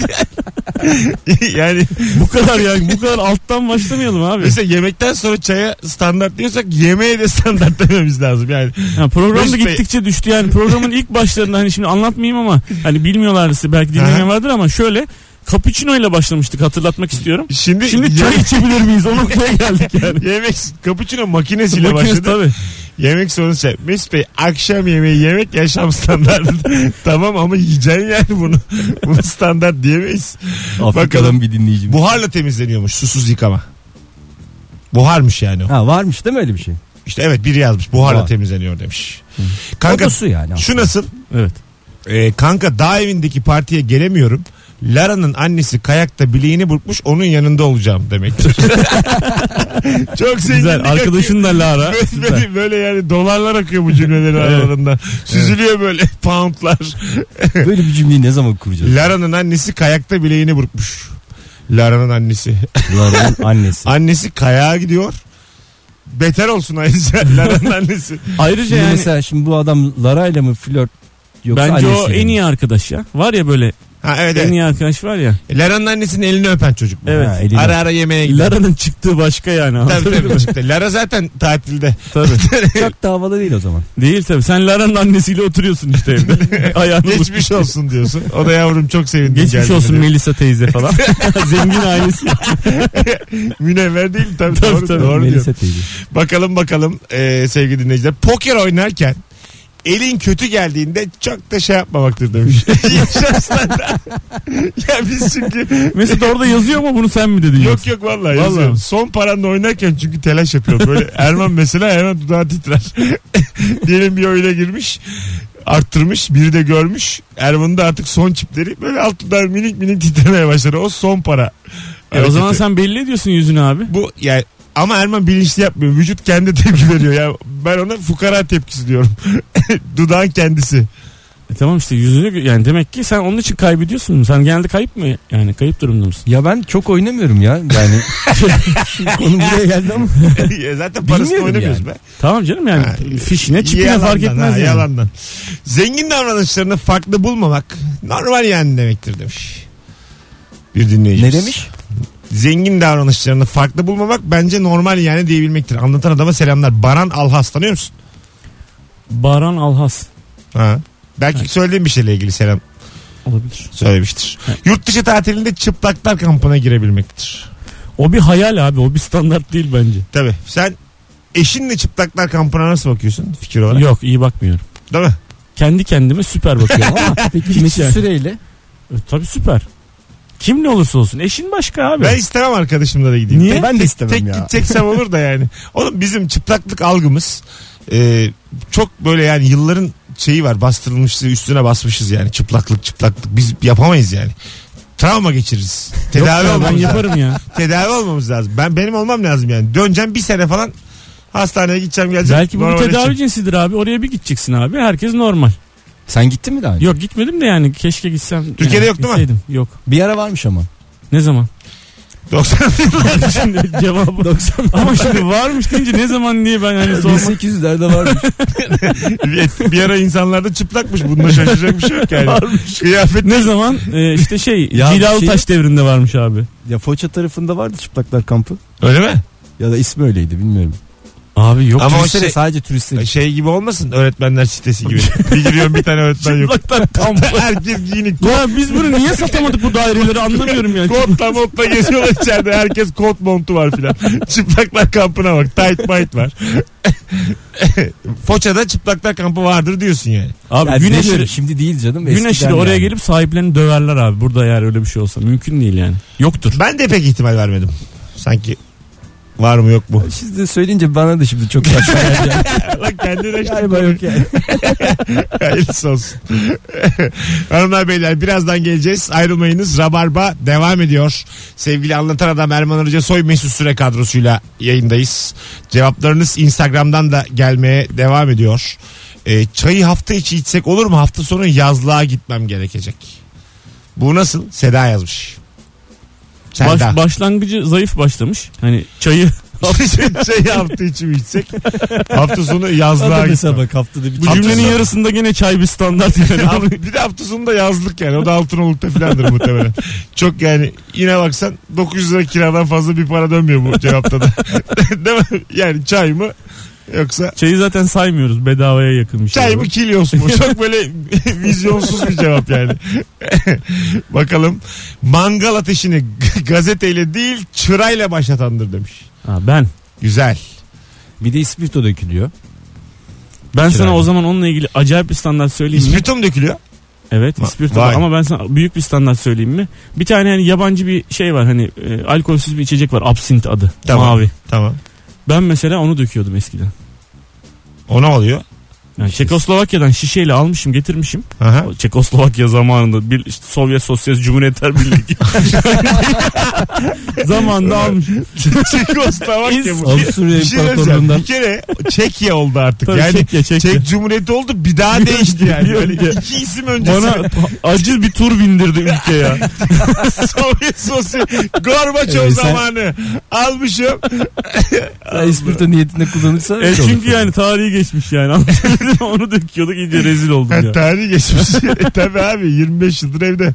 Speaker 2: yani. yani
Speaker 4: Bu kadar yani. Bu kadar alttan başlamayalım abi.
Speaker 2: mesela yemekten sonra çaya standart diyorsak yemeğe de standart dememiz lazım yani.
Speaker 4: Yani program da
Speaker 2: Mesut Bey-
Speaker 4: gittikçe düştü yani. Programın ilk başlarında hani şimdi anlatmayayım ama hani bilmiyorlarsa belki dinleyen
Speaker 2: Aha.
Speaker 4: vardır ama şöyle cappuccino ile başlamıştık hatırlatmak istiyorum.
Speaker 2: Şimdi,
Speaker 4: Şimdi
Speaker 2: yeme-
Speaker 4: çay içebilir miyiz? O noktaya geldik yani.
Speaker 2: Yemek cappuccino makinesiyle
Speaker 4: Makinesi
Speaker 2: başladı.
Speaker 4: tabii.
Speaker 2: Yemek sonrası çay. Mesut Bey akşam yemeği yemek yaşam standartı. tamam ama yiyeceksin yani bunu. Bunu standart diyemeyiz. Bakalım.
Speaker 3: Afrika'dan bir dinleyicim.
Speaker 2: Buharla temizleniyormuş susuz yıkama. Buharmış yani o.
Speaker 3: Ha varmış değil mi öyle bir şey?
Speaker 2: İşte evet biri yazmış buharla
Speaker 3: Buhar.
Speaker 2: temizleniyor demiş.
Speaker 3: O
Speaker 2: Kanka
Speaker 3: da su yani.
Speaker 2: şu nasıl?
Speaker 4: Evet.
Speaker 2: Ee, kanka dağ evindeki partiye gelemiyorum. Lara'nın annesi kayakta bileğini burkmuş onun yanında olacağım demektir. Çok zengin.
Speaker 4: Güzel. Arkadaşın da Lara.
Speaker 2: Böyle, böyle, böyle yani dolarlar akıyor bu cümlelerin aralarında. Süzülüyor böyle poundlar.
Speaker 3: Böyle bir cümleyi ne zaman kuracağız?
Speaker 2: Lara'nın annesi kayakta bileğini burkmuş. Lara'nın annesi.
Speaker 3: Lara'nın annesi.
Speaker 2: Annesi kayağa gidiyor. Beter olsun ayrıca Lara'nın annesi.
Speaker 4: Ayrıca
Speaker 3: Şimdi
Speaker 4: yani
Speaker 3: mesela şimdi bu adam Lara ile mi flört yoksa
Speaker 4: bence o
Speaker 3: annesiyle
Speaker 4: en
Speaker 3: mi?
Speaker 4: iyi arkadaş ya. Var ya böyle
Speaker 2: Ha, evet,
Speaker 4: En
Speaker 2: evet.
Speaker 4: iyi arkadaş var ya.
Speaker 2: Lara'nın annesinin elini öpen çocuk. bu.
Speaker 4: Evet.
Speaker 3: Ha, elini.
Speaker 2: Ara ara yemeğe gidiyor.
Speaker 4: Lara'nın çıktığı başka yani.
Speaker 2: Tabii
Speaker 4: Anladın mı?
Speaker 2: tabii çıktı. Lara zaten tatilde.
Speaker 4: Tabii.
Speaker 3: Çok da havalı değil o zaman.
Speaker 4: Değil tabii. Sen Lara'nın annesiyle oturuyorsun işte evde. Ayağını vurup-
Speaker 2: Geçmiş olsun diyorsun. O da yavrum çok sevindim.
Speaker 4: Geçmiş
Speaker 2: geldiğine
Speaker 4: olsun
Speaker 2: diyor.
Speaker 4: Melisa teyze falan. Zengin ailesi.
Speaker 2: Münevver değil tabii.
Speaker 4: Tabii,
Speaker 2: doğru
Speaker 4: tabii.
Speaker 2: doğru diyor.
Speaker 3: Melisa teyze.
Speaker 2: Bakalım bakalım e, sevgili dinleyiciler. Poker oynarken elin kötü geldiğinde çok da şey yapmamaktır demiş. Yaşaslar. ya biz çünkü
Speaker 4: Mesut orada yazıyor mu bunu sen mi dedin?
Speaker 2: Yok
Speaker 4: yoksa?
Speaker 2: yok vallahi,
Speaker 4: Vallahi.
Speaker 2: yazıyorum. Son paranla oynarken çünkü telaş yapıyor. Böyle Erman mesela hemen dudağı titrer. Diyelim bir oyuna girmiş. Arttırmış. Biri de görmüş. Erman'ın da artık son çipleri böyle alt dudağı minik minik titremeye başladı. O son para.
Speaker 4: E, o zaman
Speaker 2: hareketi.
Speaker 4: sen belli ediyorsun yüzünü abi.
Speaker 2: Bu yani ama Erman bilinçli yapmıyor. Vücut kendi tepki veriyor. Ya ben ona fukara tepkisi diyorum. Dudağın kendisi.
Speaker 4: E, tamam işte yüzünü gö- yani demek ki sen onun için kaybediyorsun. Sen genelde kayıp mı yani kayıp durumda mısın?
Speaker 3: Ya ben çok oynamıyorum ya. Yani Şimdi konu buraya geldi ama.
Speaker 2: Ya Zaten parasını
Speaker 3: Bilmiyorum
Speaker 2: oynamıyoruz
Speaker 3: yani.
Speaker 2: be.
Speaker 4: Tamam canım yani
Speaker 2: Ha,
Speaker 4: fişine çipine
Speaker 2: Yalandan,
Speaker 4: fark etmez
Speaker 2: ha,
Speaker 4: yani.
Speaker 2: Yalandan. Zengin davranışlarını farklı bulmamak normal yani demektir demiş. Bir dinleyicimiz.
Speaker 3: Ne demiş?
Speaker 2: Zengin davranışlarını farklı bulmamak bence normal yani diyebilmektir. Anlatan adama selamlar. Baran Alhas tanıyor musun?
Speaker 4: Baran Alhas
Speaker 2: Ha. Belki söylediğim bir şeyle ilgili selam
Speaker 4: olabilir.
Speaker 2: söylemiştir. Yurt dışı tatilinde çıplaklar kampına girebilmektir.
Speaker 4: O bir hayal abi o bir standart değil bence.
Speaker 2: Tabii. Sen eşinle çıplaklar kampına nasıl bakıyorsun fikir olarak?
Speaker 4: Yok iyi bakmıyorum.
Speaker 2: Değil mi?
Speaker 4: Kendi kendime süper bakıyorum ama
Speaker 3: Peki Mesut
Speaker 4: yani.
Speaker 3: Süreyle.
Speaker 4: e, tabii süper. Kim ne olursa olsun eşin başka abi.
Speaker 2: Ben istemem arkadaşımla da gideyim.
Speaker 4: Niye?
Speaker 2: Tek-
Speaker 3: Ben de istemem
Speaker 2: tek
Speaker 3: ya.
Speaker 2: gideceksem olur da yani. Oğlum bizim çıplaklık algımız e, çok böyle yani yılların şeyi var bastırılmışız üstüne basmışız yani çıplaklık çıplaklık biz yapamayız yani. Travma geçiririz. Tedavi
Speaker 4: Ya ben
Speaker 2: olmamız lazım.
Speaker 4: yaparım ya.
Speaker 2: Tedavi olmamız lazım. Ben benim olmam lazım yani. Döneceğim bir sene falan hastaneye gideceğim geleceğim.
Speaker 4: Belki bu bir
Speaker 2: Normalleşeceğim.
Speaker 4: tedavi cinsidir abi. Oraya bir gideceksin abi. Herkes normal.
Speaker 3: Sen gittin mi daha önce?
Speaker 4: Yok gitmedim de yani keşke gitsem.
Speaker 2: Türkiye'de
Speaker 4: yani
Speaker 2: yok değil mi?
Speaker 4: gitseydim. Yok.
Speaker 3: Bir ara varmış ama.
Speaker 4: Ne zaman?
Speaker 2: 90
Speaker 4: şimdi cevabı. Ama şimdi varmış deyince ne zaman diye ben hani sormak.
Speaker 3: 1800'lerde varmış.
Speaker 2: bir, bir ara insanlarda çıplakmış. Bunda şaşıracak bir şey yok yani. Kıyafet
Speaker 4: Ne zaman? Ee, işte şey
Speaker 3: Ya
Speaker 4: Cilalı
Speaker 3: şey-
Speaker 4: Taş devrinde varmış abi.
Speaker 3: ya Foça tarafında vardı çıplaklar kampı.
Speaker 2: Öyle mi?
Speaker 3: Ya da ismi öyleydi bilmiyorum.
Speaker 4: Abi yok.
Speaker 2: Ama o
Speaker 3: Turistlere
Speaker 2: şey-
Speaker 3: sadece turistler. için.
Speaker 2: Şey gibi olmasın öğretmenler sitesi gibi. bir giriyorsun bir tane öğretmen yok.
Speaker 4: Çıplaklar kamp.
Speaker 2: Herkes giyinik.
Speaker 4: Ya biz bunu niye satamadık bu daireleri anlamıyorum yani.
Speaker 2: Kotla motla geziyorlar içeride. Herkes kot montu var filan. Çıplaklar kampına bak. Tight might var. Foça'da çıplaklar kampı vardır diyorsun yani.
Speaker 4: şey- Abi
Speaker 3: Yani
Speaker 4: güneş
Speaker 3: demiyorum, şimdi değil canım.
Speaker 4: Gün
Speaker 3: eskiden
Speaker 4: aşırı oraya
Speaker 3: yani.
Speaker 4: gelip sahiplerini döverler abi. Burada eğer öyle bir şey olsa. Mümkün değil yani. Yoktur.
Speaker 2: Ben de pek ihtimal vermedim. Sanki var mı yok mu?
Speaker 3: Siz de söyleyince bana da şimdi çok saçma geldi. yani.
Speaker 2: Allah kendine işte
Speaker 3: Galiba yok yani.
Speaker 2: Hayırlısı olsun. Hanımlar beyler birazdan geleceğiz. Ayrılmayınız. Rabarba devam ediyor. Sevgili anlatan adam Erman Arıca Soy Mesut Süre kadrosuyla yayındayız. Cevaplarınız Instagram'dan da gelmeye devam ediyor. Ee, çayı hafta içi içsek olur mu? Hafta sonu yazlığa gitmem gerekecek. Bu nasıl? Seda yazmış.
Speaker 4: Baş,
Speaker 2: Seda.
Speaker 4: başlangıcı zayıf başlamış. Hani çayı
Speaker 2: çayı hafta içi mi içsek? Hafta sonu
Speaker 3: O da
Speaker 2: yazlığa
Speaker 3: mesela
Speaker 2: gitmem.
Speaker 3: bak haftada bir
Speaker 4: bu
Speaker 2: Hafta
Speaker 4: cümlenin
Speaker 2: sonu.
Speaker 4: yarısında gene çay bir standart yani.
Speaker 2: Abi bir de hafta sonunda yazlık yani. O da Altınoluk'ta filandır muhtemelen. Çok yani yine baksan 900 lira kiradan fazla bir para dönmüyor bu cevapta da. Değil mi? Yani çay mı yoksa
Speaker 4: Çayı zaten saymıyoruz. Bedavaya yakın bir şey.
Speaker 2: çay
Speaker 4: bu.
Speaker 2: mı kilyos mu? Çok böyle vizyonsuz bir cevap yani. Bakalım mangal ateşini gazeteyle değil çırayla başlatandır demiş.
Speaker 4: Ha, ben.
Speaker 2: Güzel.
Speaker 3: Bir de ispirto dökülüyor.
Speaker 4: Ben
Speaker 3: Kirayla.
Speaker 4: sana o zaman onunla ilgili acayip bir standart söyleyeyim mi?
Speaker 2: İspirto mu dökülüyor?
Speaker 4: Evet
Speaker 2: Va-
Speaker 4: ispirto
Speaker 2: vay.
Speaker 4: ama ben sana büyük bir standart söyleyeyim mi? Bir tane hani yabancı bir şey var hani e, alkolsüz bir içecek var absint adı
Speaker 2: Tamam.
Speaker 4: mavi.
Speaker 2: Tamam.
Speaker 4: Ben mesela onu döküyordum eskiden.
Speaker 2: O ne oluyor?
Speaker 4: Yani Çekoslovakya'dan şişeyle almışım getirmişim.
Speaker 2: Aha.
Speaker 4: O Çekoslovakya zamanında bir işte Sovyet Sosyalist Cumhuriyetler Birliği zamanında almışım.
Speaker 2: Çekoslovakya bu.
Speaker 3: Avusturya
Speaker 2: Bir şey söyleyeceğim.
Speaker 3: İmparatorluğu'ndan.
Speaker 2: Bir kere Çekya oldu artık.
Speaker 4: Tabii
Speaker 2: yani
Speaker 4: Çekya, Çekya.
Speaker 2: Çek Cumhuriyeti oldu bir daha değişti yani. Böyle iki isim öncesi.
Speaker 4: Bana acı bir tur bindirdi ülke ya.
Speaker 2: Sovyet sosyal Gorbaçov
Speaker 3: Evet, sen-
Speaker 2: zamanı almışım.
Speaker 3: Ya ispirto niyetinde şey kullanırsa.
Speaker 4: E çünkü yani tarihi geçmiş yani. dedim onu döküyorduk iyice rezil oldum ya.
Speaker 2: Tarih geçmiş. E, Tabii abi 25 yıldır evde.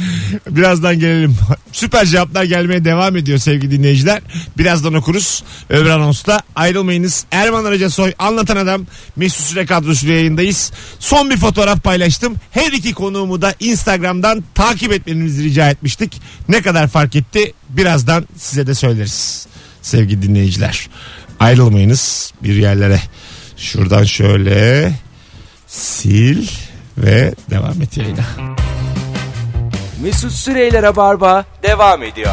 Speaker 2: Birazdan gelelim. Süper cevaplar gelmeye devam ediyor sevgili dinleyiciler. Birazdan okuruz. Öbür anonsta ayrılmayınız. Erman Araca Soy anlatan adam Mesut Süre kadrosuyla yayındayız. Son bir fotoğraf paylaştım. Her iki konuğumu da Instagram'dan takip etmenizi rica etmiştik. Ne kadar fark etti birazdan size de söyleriz sevgili dinleyiciler. Ayrılmayınız bir yerlere. Şuradan şöyle sil ve devam et yayına.
Speaker 1: Mesut Süreyler'e barba devam ediyor.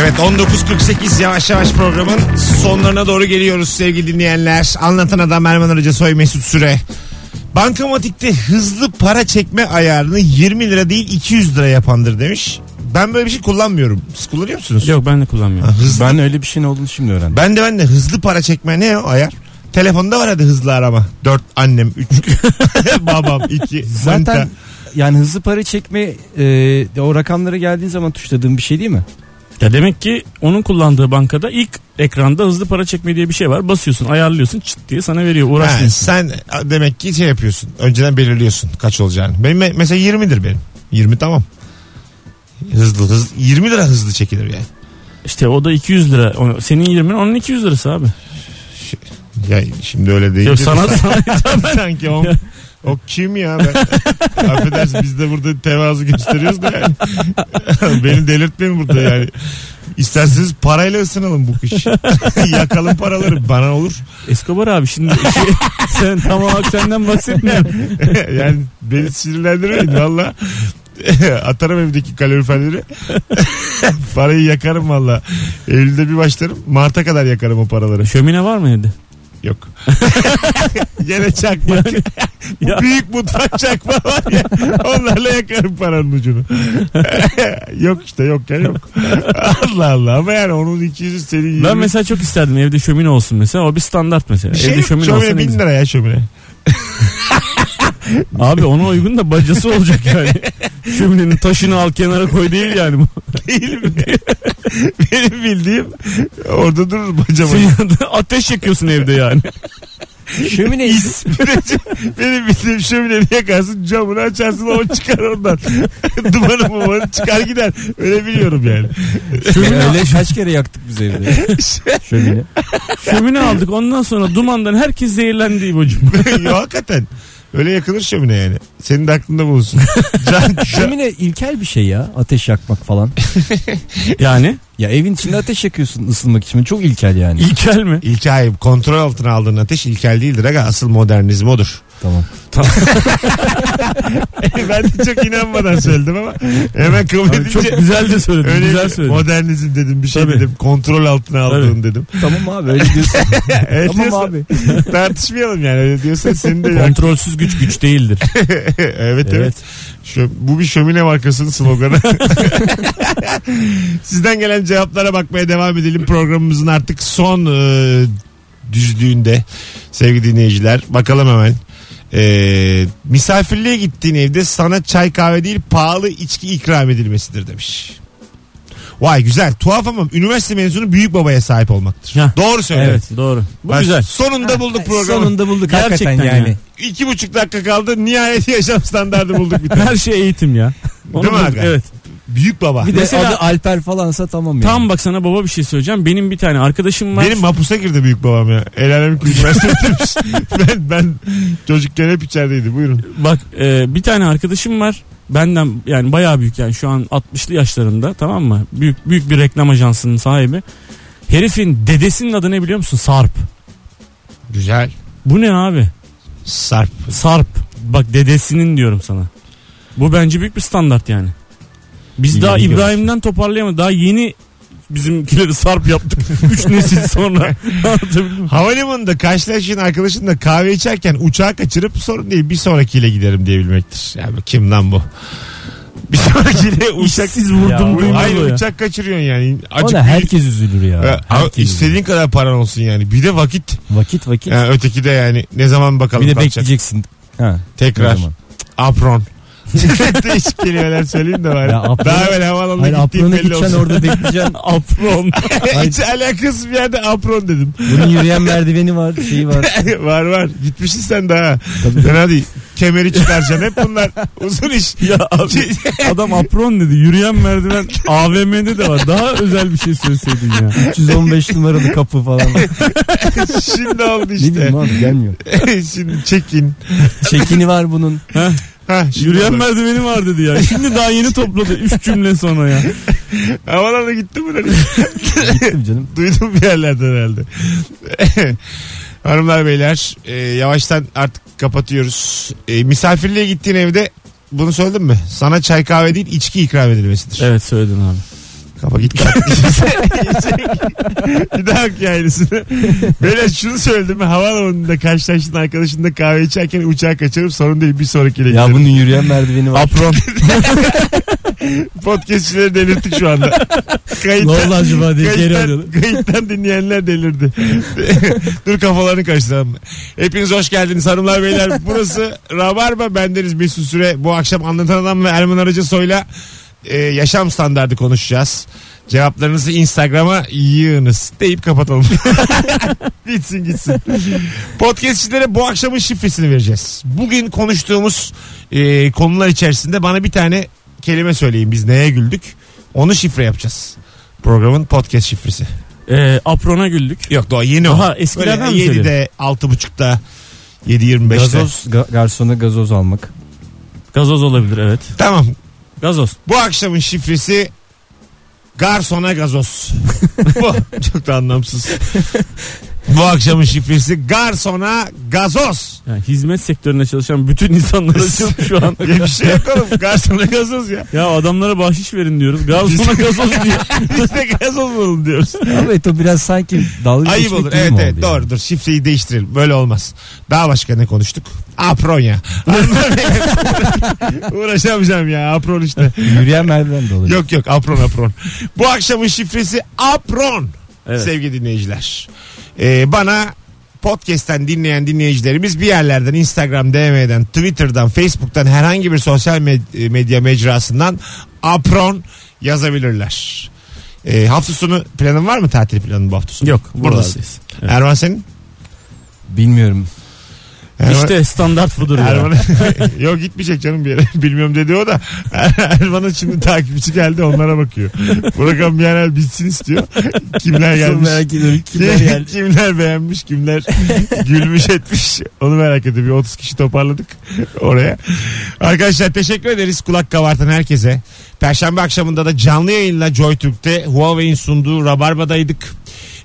Speaker 2: Evet 19.48 yavaş yavaş programın sonlarına doğru geliyoruz sevgili dinleyenler. Anlatan adam Erman Arıca Soy Mesut Süre. Bankamatikte hızlı para çekme ayarını 20 lira değil 200 lira yapandır demiş. Ben böyle bir şey kullanmıyorum. Siz kullanıyor musunuz?
Speaker 4: Yok ben de kullanmıyorum.
Speaker 2: Hızlı.
Speaker 3: Ben öyle bir şeyin olduğunu şimdi öğrendim.
Speaker 2: Ben de ben de hızlı para çekme ne o ayar? Telefonda var hadi hızlı arama. 4 annem 3 babam 2
Speaker 3: Zaten yani hızlı para çekme e, de o rakamlara geldiğin zaman tuşladığın bir şey değil mi?
Speaker 4: Ya demek ki onun kullandığı bankada ilk ekranda hızlı para çekme diye bir şey var. Basıyorsun ayarlıyorsun çıt diye sana veriyor
Speaker 2: Ha,
Speaker 4: uğraşmıyorsun.
Speaker 2: sen demek ki şey yapıyorsun. Önceden belirliyorsun kaç olacağını. Benim me- mesela 20'dir benim. 20 tamam. Hızlı hızlı 20 lira hızlı çekilir yani.
Speaker 4: İşte o da 200 lira. O- Senin 20'nin onun 200 lirası abi.
Speaker 2: Ya şimdi öyle değil.
Speaker 4: Yok sana, sana
Speaker 2: sanki o, o kim ya ben. Affedersin biz de burada tevazu gösteriyoruz da yani. Beni delirtmeyin burada yani. İsterseniz parayla ısınalım bu kış. Yakalım paraları bana olur.
Speaker 4: Escobar abi şimdi şey- sen tam olarak senden bahsetmiyorum.
Speaker 2: yani beni sinirlendirmeyin valla. Atarım evdeki kaloriferleri. Parayı yakarım valla. Eylül'de bir başlarım. Mart'a kadar yakarım o paraları.
Speaker 4: Şömine var mı evde?
Speaker 2: Yok. Gene çakmak. Bu
Speaker 4: ya.
Speaker 2: Büyük mutfak çakma var ya. Onlarla yakarım paranın ucunu. yok işte yok ya yok. Allah Allah ama yani onun 200 senin 20.
Speaker 4: Ben mesela çok isterdim evde şömine olsun mesela. O bir standart mesela.
Speaker 2: bir şey
Speaker 4: evde
Speaker 2: yok.
Speaker 4: şömine, olsa
Speaker 2: Şömine
Speaker 4: ne
Speaker 2: bin
Speaker 4: güzel.
Speaker 2: lira ya şömine.
Speaker 4: Abi ona uygun da bacası olacak yani. Şöminenin taşını al kenara koy değil yani bu.
Speaker 2: Değil mi? Benim bildiğim orada durur bacama.
Speaker 4: Ateş yakıyorsun evde yani.
Speaker 3: Şömine
Speaker 2: İz. Benim bildiğim şömineni yakarsın camını açarsın o çıkar ondan. Dumanı mumanı çıkar gider. Öyle biliyorum yani.
Speaker 3: Şömine kaç kere yaktık biz evde. Şömine.
Speaker 4: Şömine aldık ondan sonra dumandan herkes zehirlendi İbo'cum.
Speaker 2: Yo hakikaten. Öyle yakılır şömine yani. Senin de aklında bulunsun. Can, can-
Speaker 3: Şömine ilkel bir şey ya ateş yakmak falan.
Speaker 4: Yani
Speaker 3: Ya evin içinde ateş yakıyorsun ısınmak için. Çok ilkel yani.
Speaker 4: ilkel mi?
Speaker 2: İlkel kontrol altına aldığın ateş ilkel değildir. Aga. Asıl modernizm odur.
Speaker 3: Tamam.
Speaker 2: ben de çok inanmadan söyledim ama hemen kabul
Speaker 4: Abi
Speaker 2: edince.
Speaker 4: çok güzel de söyledin.
Speaker 2: Öyle
Speaker 4: güzel söyledin.
Speaker 2: modernizm dedim bir şey
Speaker 4: Tabii.
Speaker 2: dedim. Kontrol altına aldığın dedim.
Speaker 3: tamam abi öyle diyorsun.
Speaker 2: Öyle
Speaker 3: tamam
Speaker 2: diyorsan-
Speaker 3: abi.
Speaker 2: Tartışmayalım yani öyle diyorsan senin de
Speaker 4: Kontrolsüz güç güç değildir.
Speaker 2: evet evet.
Speaker 4: Evet.
Speaker 2: Şu, bu bir şömine markasının sloganı. Sizden gelen cevaplara bakmaya devam edelim. Programımızın artık son e, düzlüğünde sevgili dinleyiciler. Bakalım hemen. E, misafirliğe gittiğin evde sana çay kahve değil pahalı içki ikram edilmesidir demiş. Vay güzel tuhaf ama üniversite mezunu büyük babaya sahip olmaktır.
Speaker 4: Hah.
Speaker 2: Doğru söyle.
Speaker 4: Evet doğru. Bu
Speaker 2: Bak,
Speaker 4: güzel.
Speaker 2: Sonunda bulduk programı.
Speaker 3: Sonunda bulduk
Speaker 4: Gerçekten
Speaker 3: hakikaten yani.
Speaker 4: ya.
Speaker 2: İki buçuk dakika kaldı. Nihayet yaşam standardı bulduk bir tane.
Speaker 4: Her şey eğitim ya. Onu
Speaker 2: Değil mi
Speaker 4: bulduk,
Speaker 2: Hakan?
Speaker 4: Evet.
Speaker 2: Büyük baba.
Speaker 3: Bir de
Speaker 4: Mesela-
Speaker 3: adı Alper falansa tamam yani.
Speaker 4: Tam bak sana baba bir şey söyleyeceğim. Benim bir tane arkadaşım var.
Speaker 2: Benim mapusa girdi büyük babam ya. El alem üniversite bitirmiş. ben, ben çocukken hep içerideydi. Buyurun.
Speaker 4: Bak e, bir tane arkadaşım var. Benden yani bayağı büyük yani şu an 60'lı yaşlarında tamam mı? Büyük büyük bir reklam ajansının sahibi. Herifin dedesinin adı ne biliyor musun? Sarp.
Speaker 2: Güzel.
Speaker 4: Bu ne abi?
Speaker 2: Sarp.
Speaker 4: Sarp. Bak dedesinin diyorum sana. Bu bence büyük bir standart yani. Biz
Speaker 2: Yeni
Speaker 4: daha
Speaker 2: görüyorsun.
Speaker 4: İbrahim'den toparlayamadık. Daha yeni bizimkileri sarp yaptık. Üç nesil sonra. Anlatabildim mi?
Speaker 2: Havalimanında karşılaştığın arkadaşınla kahve içerken uçağı kaçırıp sorun değil bir sonrakiyle giderim diyebilmektir. Ya bu kim lan bu? Bir sonrakiyle uçak...
Speaker 4: İşsiz
Speaker 3: Ya,
Speaker 4: vurdum
Speaker 3: bu-
Speaker 4: duymadı
Speaker 2: Hayır
Speaker 4: o ya.
Speaker 2: uçak kaçırıyorsun yani.
Speaker 3: O
Speaker 2: Acık
Speaker 3: da
Speaker 2: bir-
Speaker 3: herkes üzülür ya.
Speaker 2: Ha, ama
Speaker 3: Herkes üzülür.
Speaker 2: istediğin kadar paran olsun yani. Bir de vakit.
Speaker 3: Vakit vakit.
Speaker 2: Ha, öteki de yani ne zaman bakalım
Speaker 3: bir de
Speaker 2: kalkacak.
Speaker 3: bekleyeceksin. Ha, ne
Speaker 2: Tekrar.
Speaker 3: zaman?
Speaker 2: Apron. Değişik kelimeler söyleyin de bari.
Speaker 3: Ya apron-
Speaker 2: Daha evvel havaalanına
Speaker 3: Hayır
Speaker 2: gittiğim
Speaker 3: aprona
Speaker 2: belli
Speaker 3: gideceksin
Speaker 2: olsun.
Speaker 3: orada bekleyeceksin.
Speaker 4: Apron.
Speaker 2: Hiç alakasız bir yerde apron dedim.
Speaker 3: Bunun yürüyen merdiveni var şeyi var.
Speaker 2: var var. Gitmişsin sen daha. Ben hadi kemeri çıkaracaksın. Hep bunlar uzun iş.
Speaker 4: ya abi,
Speaker 2: Şey,
Speaker 4: adam apron dedi. Yürüyen merdiven AVM'de de var. Daha özel bir şey söyleseydin ya.
Speaker 3: 315 numaralı kapı falan.
Speaker 2: Şimdi oldu
Speaker 3: Ne
Speaker 2: işte.
Speaker 3: bileyim abi gelmiyor.
Speaker 2: Şimdi çekin.
Speaker 3: Çekini var bunun.
Speaker 2: Ha, şimdi
Speaker 4: Yürüyen
Speaker 2: oldu.
Speaker 4: merdiveni var dedi ya. Şimdi daha yeni topladı. Üç cümle sonra ya.
Speaker 2: Havalarına gitti mi? lan?
Speaker 3: Gittim canım.
Speaker 2: Duydum bir yerlerden herhalde. Hanımlar beyler e, yavaştan artık kapatıyoruz. E, misafirliğe gittiğin evde bunu söyledim mi? Sana çay kahve değil içki ikram edilmesidir.
Speaker 4: Evet söyledin abi.
Speaker 2: Kafa git kalk. bir daha hak aynısını. Böyle şunu söyledim mi? Havaalanında karşılaştığın arkadaşınla kahve içerken uçağa kaçarım sorun değil bir sonrakiyle
Speaker 3: Ya
Speaker 2: giderim.
Speaker 3: bunun yürüyen merdiveni var.
Speaker 2: Apron. Podcastçileri delirttik şu anda.
Speaker 3: Ne
Speaker 2: Kayıttan,
Speaker 3: oldu acaba diye geri
Speaker 2: kayıttan,
Speaker 3: arıyorum.
Speaker 2: kayıttan dinleyenler delirdi. Dur kafalarını karıştıralım. Hepiniz hoş geldiniz hanımlar beyler. Burası Rabarba. Bendeniz Mesut Süre. Bu akşam Anlatan Adam ve Erman Arıca Soy'la e, yaşam standardı konuşacağız. Cevaplarınızı Instagram'a yığınız deyip kapatalım. Bitsin gitsin. Podcastçilere bu akşamın şifresini vereceğiz. Bugün konuştuğumuz e, konular içerisinde bana bir tane kelime söyleyin biz neye güldük. Onu şifre yapacağız. Programın podcast şifresi.
Speaker 4: Ee, aprona güldük.
Speaker 2: Yok daha yeni o.
Speaker 4: Aha, eskilerden mi
Speaker 2: 7'de, 6.30'da, 7.25'te.
Speaker 3: Gazoz, ga- garsona gazoz almak.
Speaker 4: Gazoz olabilir evet.
Speaker 2: Tamam.
Speaker 4: Gazoz.
Speaker 2: Bu akşamın şifresi garsona gazoz. Bu çok da anlamsız. Bu akşamın şifresi garsona gazoz.
Speaker 4: Yani hizmet sektöründe çalışan bütün insanlara açıldı şu an.
Speaker 2: Ya bir şey yok oğlum. Garsona gazoz ya.
Speaker 4: Ya adamlara bahşiş verin diyoruz. Gazona gazoz diyor.
Speaker 2: Biz de gazoz olalım diyoruz.
Speaker 3: Ama o biraz sanki dalga
Speaker 2: Ayıp
Speaker 3: geçmek
Speaker 2: olur.
Speaker 3: gibi
Speaker 2: Evet
Speaker 3: şey mi oldu
Speaker 2: evet
Speaker 3: yani?
Speaker 2: doğrudur. Şifreyi değiştirelim. Böyle olmaz. Daha başka ne konuştuk? Apron ya. Uğraşamayacağım ya. Apron işte.
Speaker 3: Yürüyen merdiven de olabilir.
Speaker 2: Yok yok apron apron. Bu akşamın şifresi apron
Speaker 4: Evet.
Speaker 2: sevgili dinleyiciler. Ee, bana podcast'ten dinleyen dinleyicilerimiz bir yerlerden Instagram DM'den Twitter'dan Facebook'tan herhangi bir sosyal med- e, medya mecrasından apron yazabilirler. Ee, hafta sonu planın var mı tatil planın bu hafta sonu?
Speaker 4: Yok
Speaker 2: Buradasın.
Speaker 4: buradayız. Evet.
Speaker 2: Erman senin?
Speaker 3: Bilmiyorum.
Speaker 2: Erman-
Speaker 4: İşte standart budur ya.
Speaker 2: Erman'a yok gitmeyecek canım bir yere. Bilmiyorum dedi o da. Erman'ın şimdi takipçi geldi onlara bakıyor. Program bir yerel bitsin istiyor. Kimler
Speaker 3: Çok
Speaker 2: gelmiş?
Speaker 3: merak ediyorum. Kimler
Speaker 2: Kim-
Speaker 3: geldi?
Speaker 2: kimler beğenmiş kimler gülmüş etmiş onu merak ediyorum bir 30 kişi toparladık oraya arkadaşlar teşekkür ederiz kulak kabartan herkese perşembe akşamında da canlı yayınla JoyTürk'te Huawei'in sunduğu Rabarba'daydık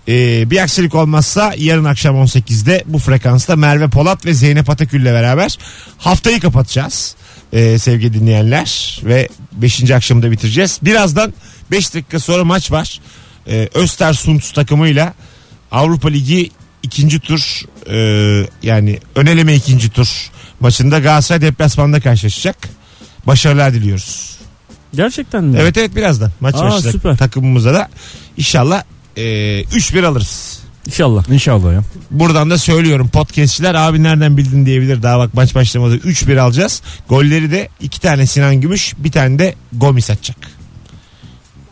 Speaker 2: Ee, bir aksilik olmazsa yarın akşam 18'de bu frekansta Merve Polat ve Zeynep Atakül'le beraber haftayı kapatacağız ee, sevgili dinleyenler ve 5. akşamı da bitireceğiz birazdan 5 dakika sonra maç var ee, Östersund takımıyla Avrupa Ligi ikinci tur e, yani öneleme ikinci tur maçında Galatasaray deplasmanda karşılaşacak. Başarılar diliyoruz.
Speaker 4: Gerçekten mi?
Speaker 2: Evet evet birazdan maç
Speaker 4: Aa,
Speaker 2: başlayacak
Speaker 4: süper.
Speaker 2: takımımıza da inşallah e, 3-1 alırız.
Speaker 4: İnşallah.
Speaker 3: İnşallah ya.
Speaker 2: Buradan da söylüyorum podcastçiler abi nereden bildin diyebilir. Daha bak maç başlamadı 3-1 alacağız. Golleri de iki tane Sinan Gümüş bir tane de Gomis atacak.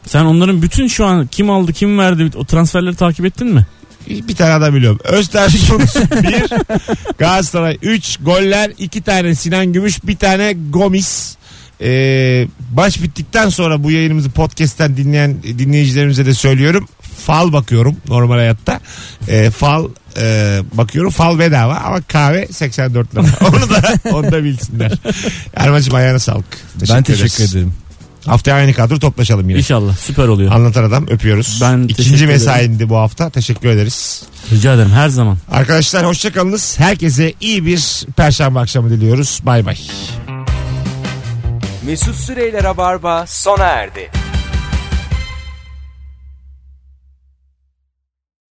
Speaker 4: Sen onların bütün şu an kim aldı kim verdi o transferleri takip ettin mi?
Speaker 2: Bir tane adam biliyorum. Östersund 1, Galatasaray 3, goller 2 tane Sinan Gümüş, bir tane Gomis. Ee, baş bittikten sonra bu yayınımızı podcast'ten dinleyen dinleyicilerimize de söylüyorum. Fal bakıyorum normal hayatta. Ee, fal e, bakıyorum. Fal bedava ama kahve 84 lira. onu da onu da bilsinler. Erman'cığım ayağına sağlık.
Speaker 3: ben
Speaker 2: ederiz.
Speaker 3: teşekkür ederim.
Speaker 2: Haftaya aynı kadro toplaşalım yine.
Speaker 4: İnşallah süper oluyor.
Speaker 2: Anlatan adam öpüyoruz.
Speaker 4: Ben teşekkür
Speaker 2: İkinci
Speaker 4: ederim.
Speaker 2: mesaindi bu hafta. Teşekkür ederiz.
Speaker 4: Rica ederim her zaman.
Speaker 2: Arkadaşlar hoşçakalınız. Herkese iyi bir perşembe akşamı diliyoruz. Bay bay.
Speaker 1: Mesut Süreyler'e barba sona erdi.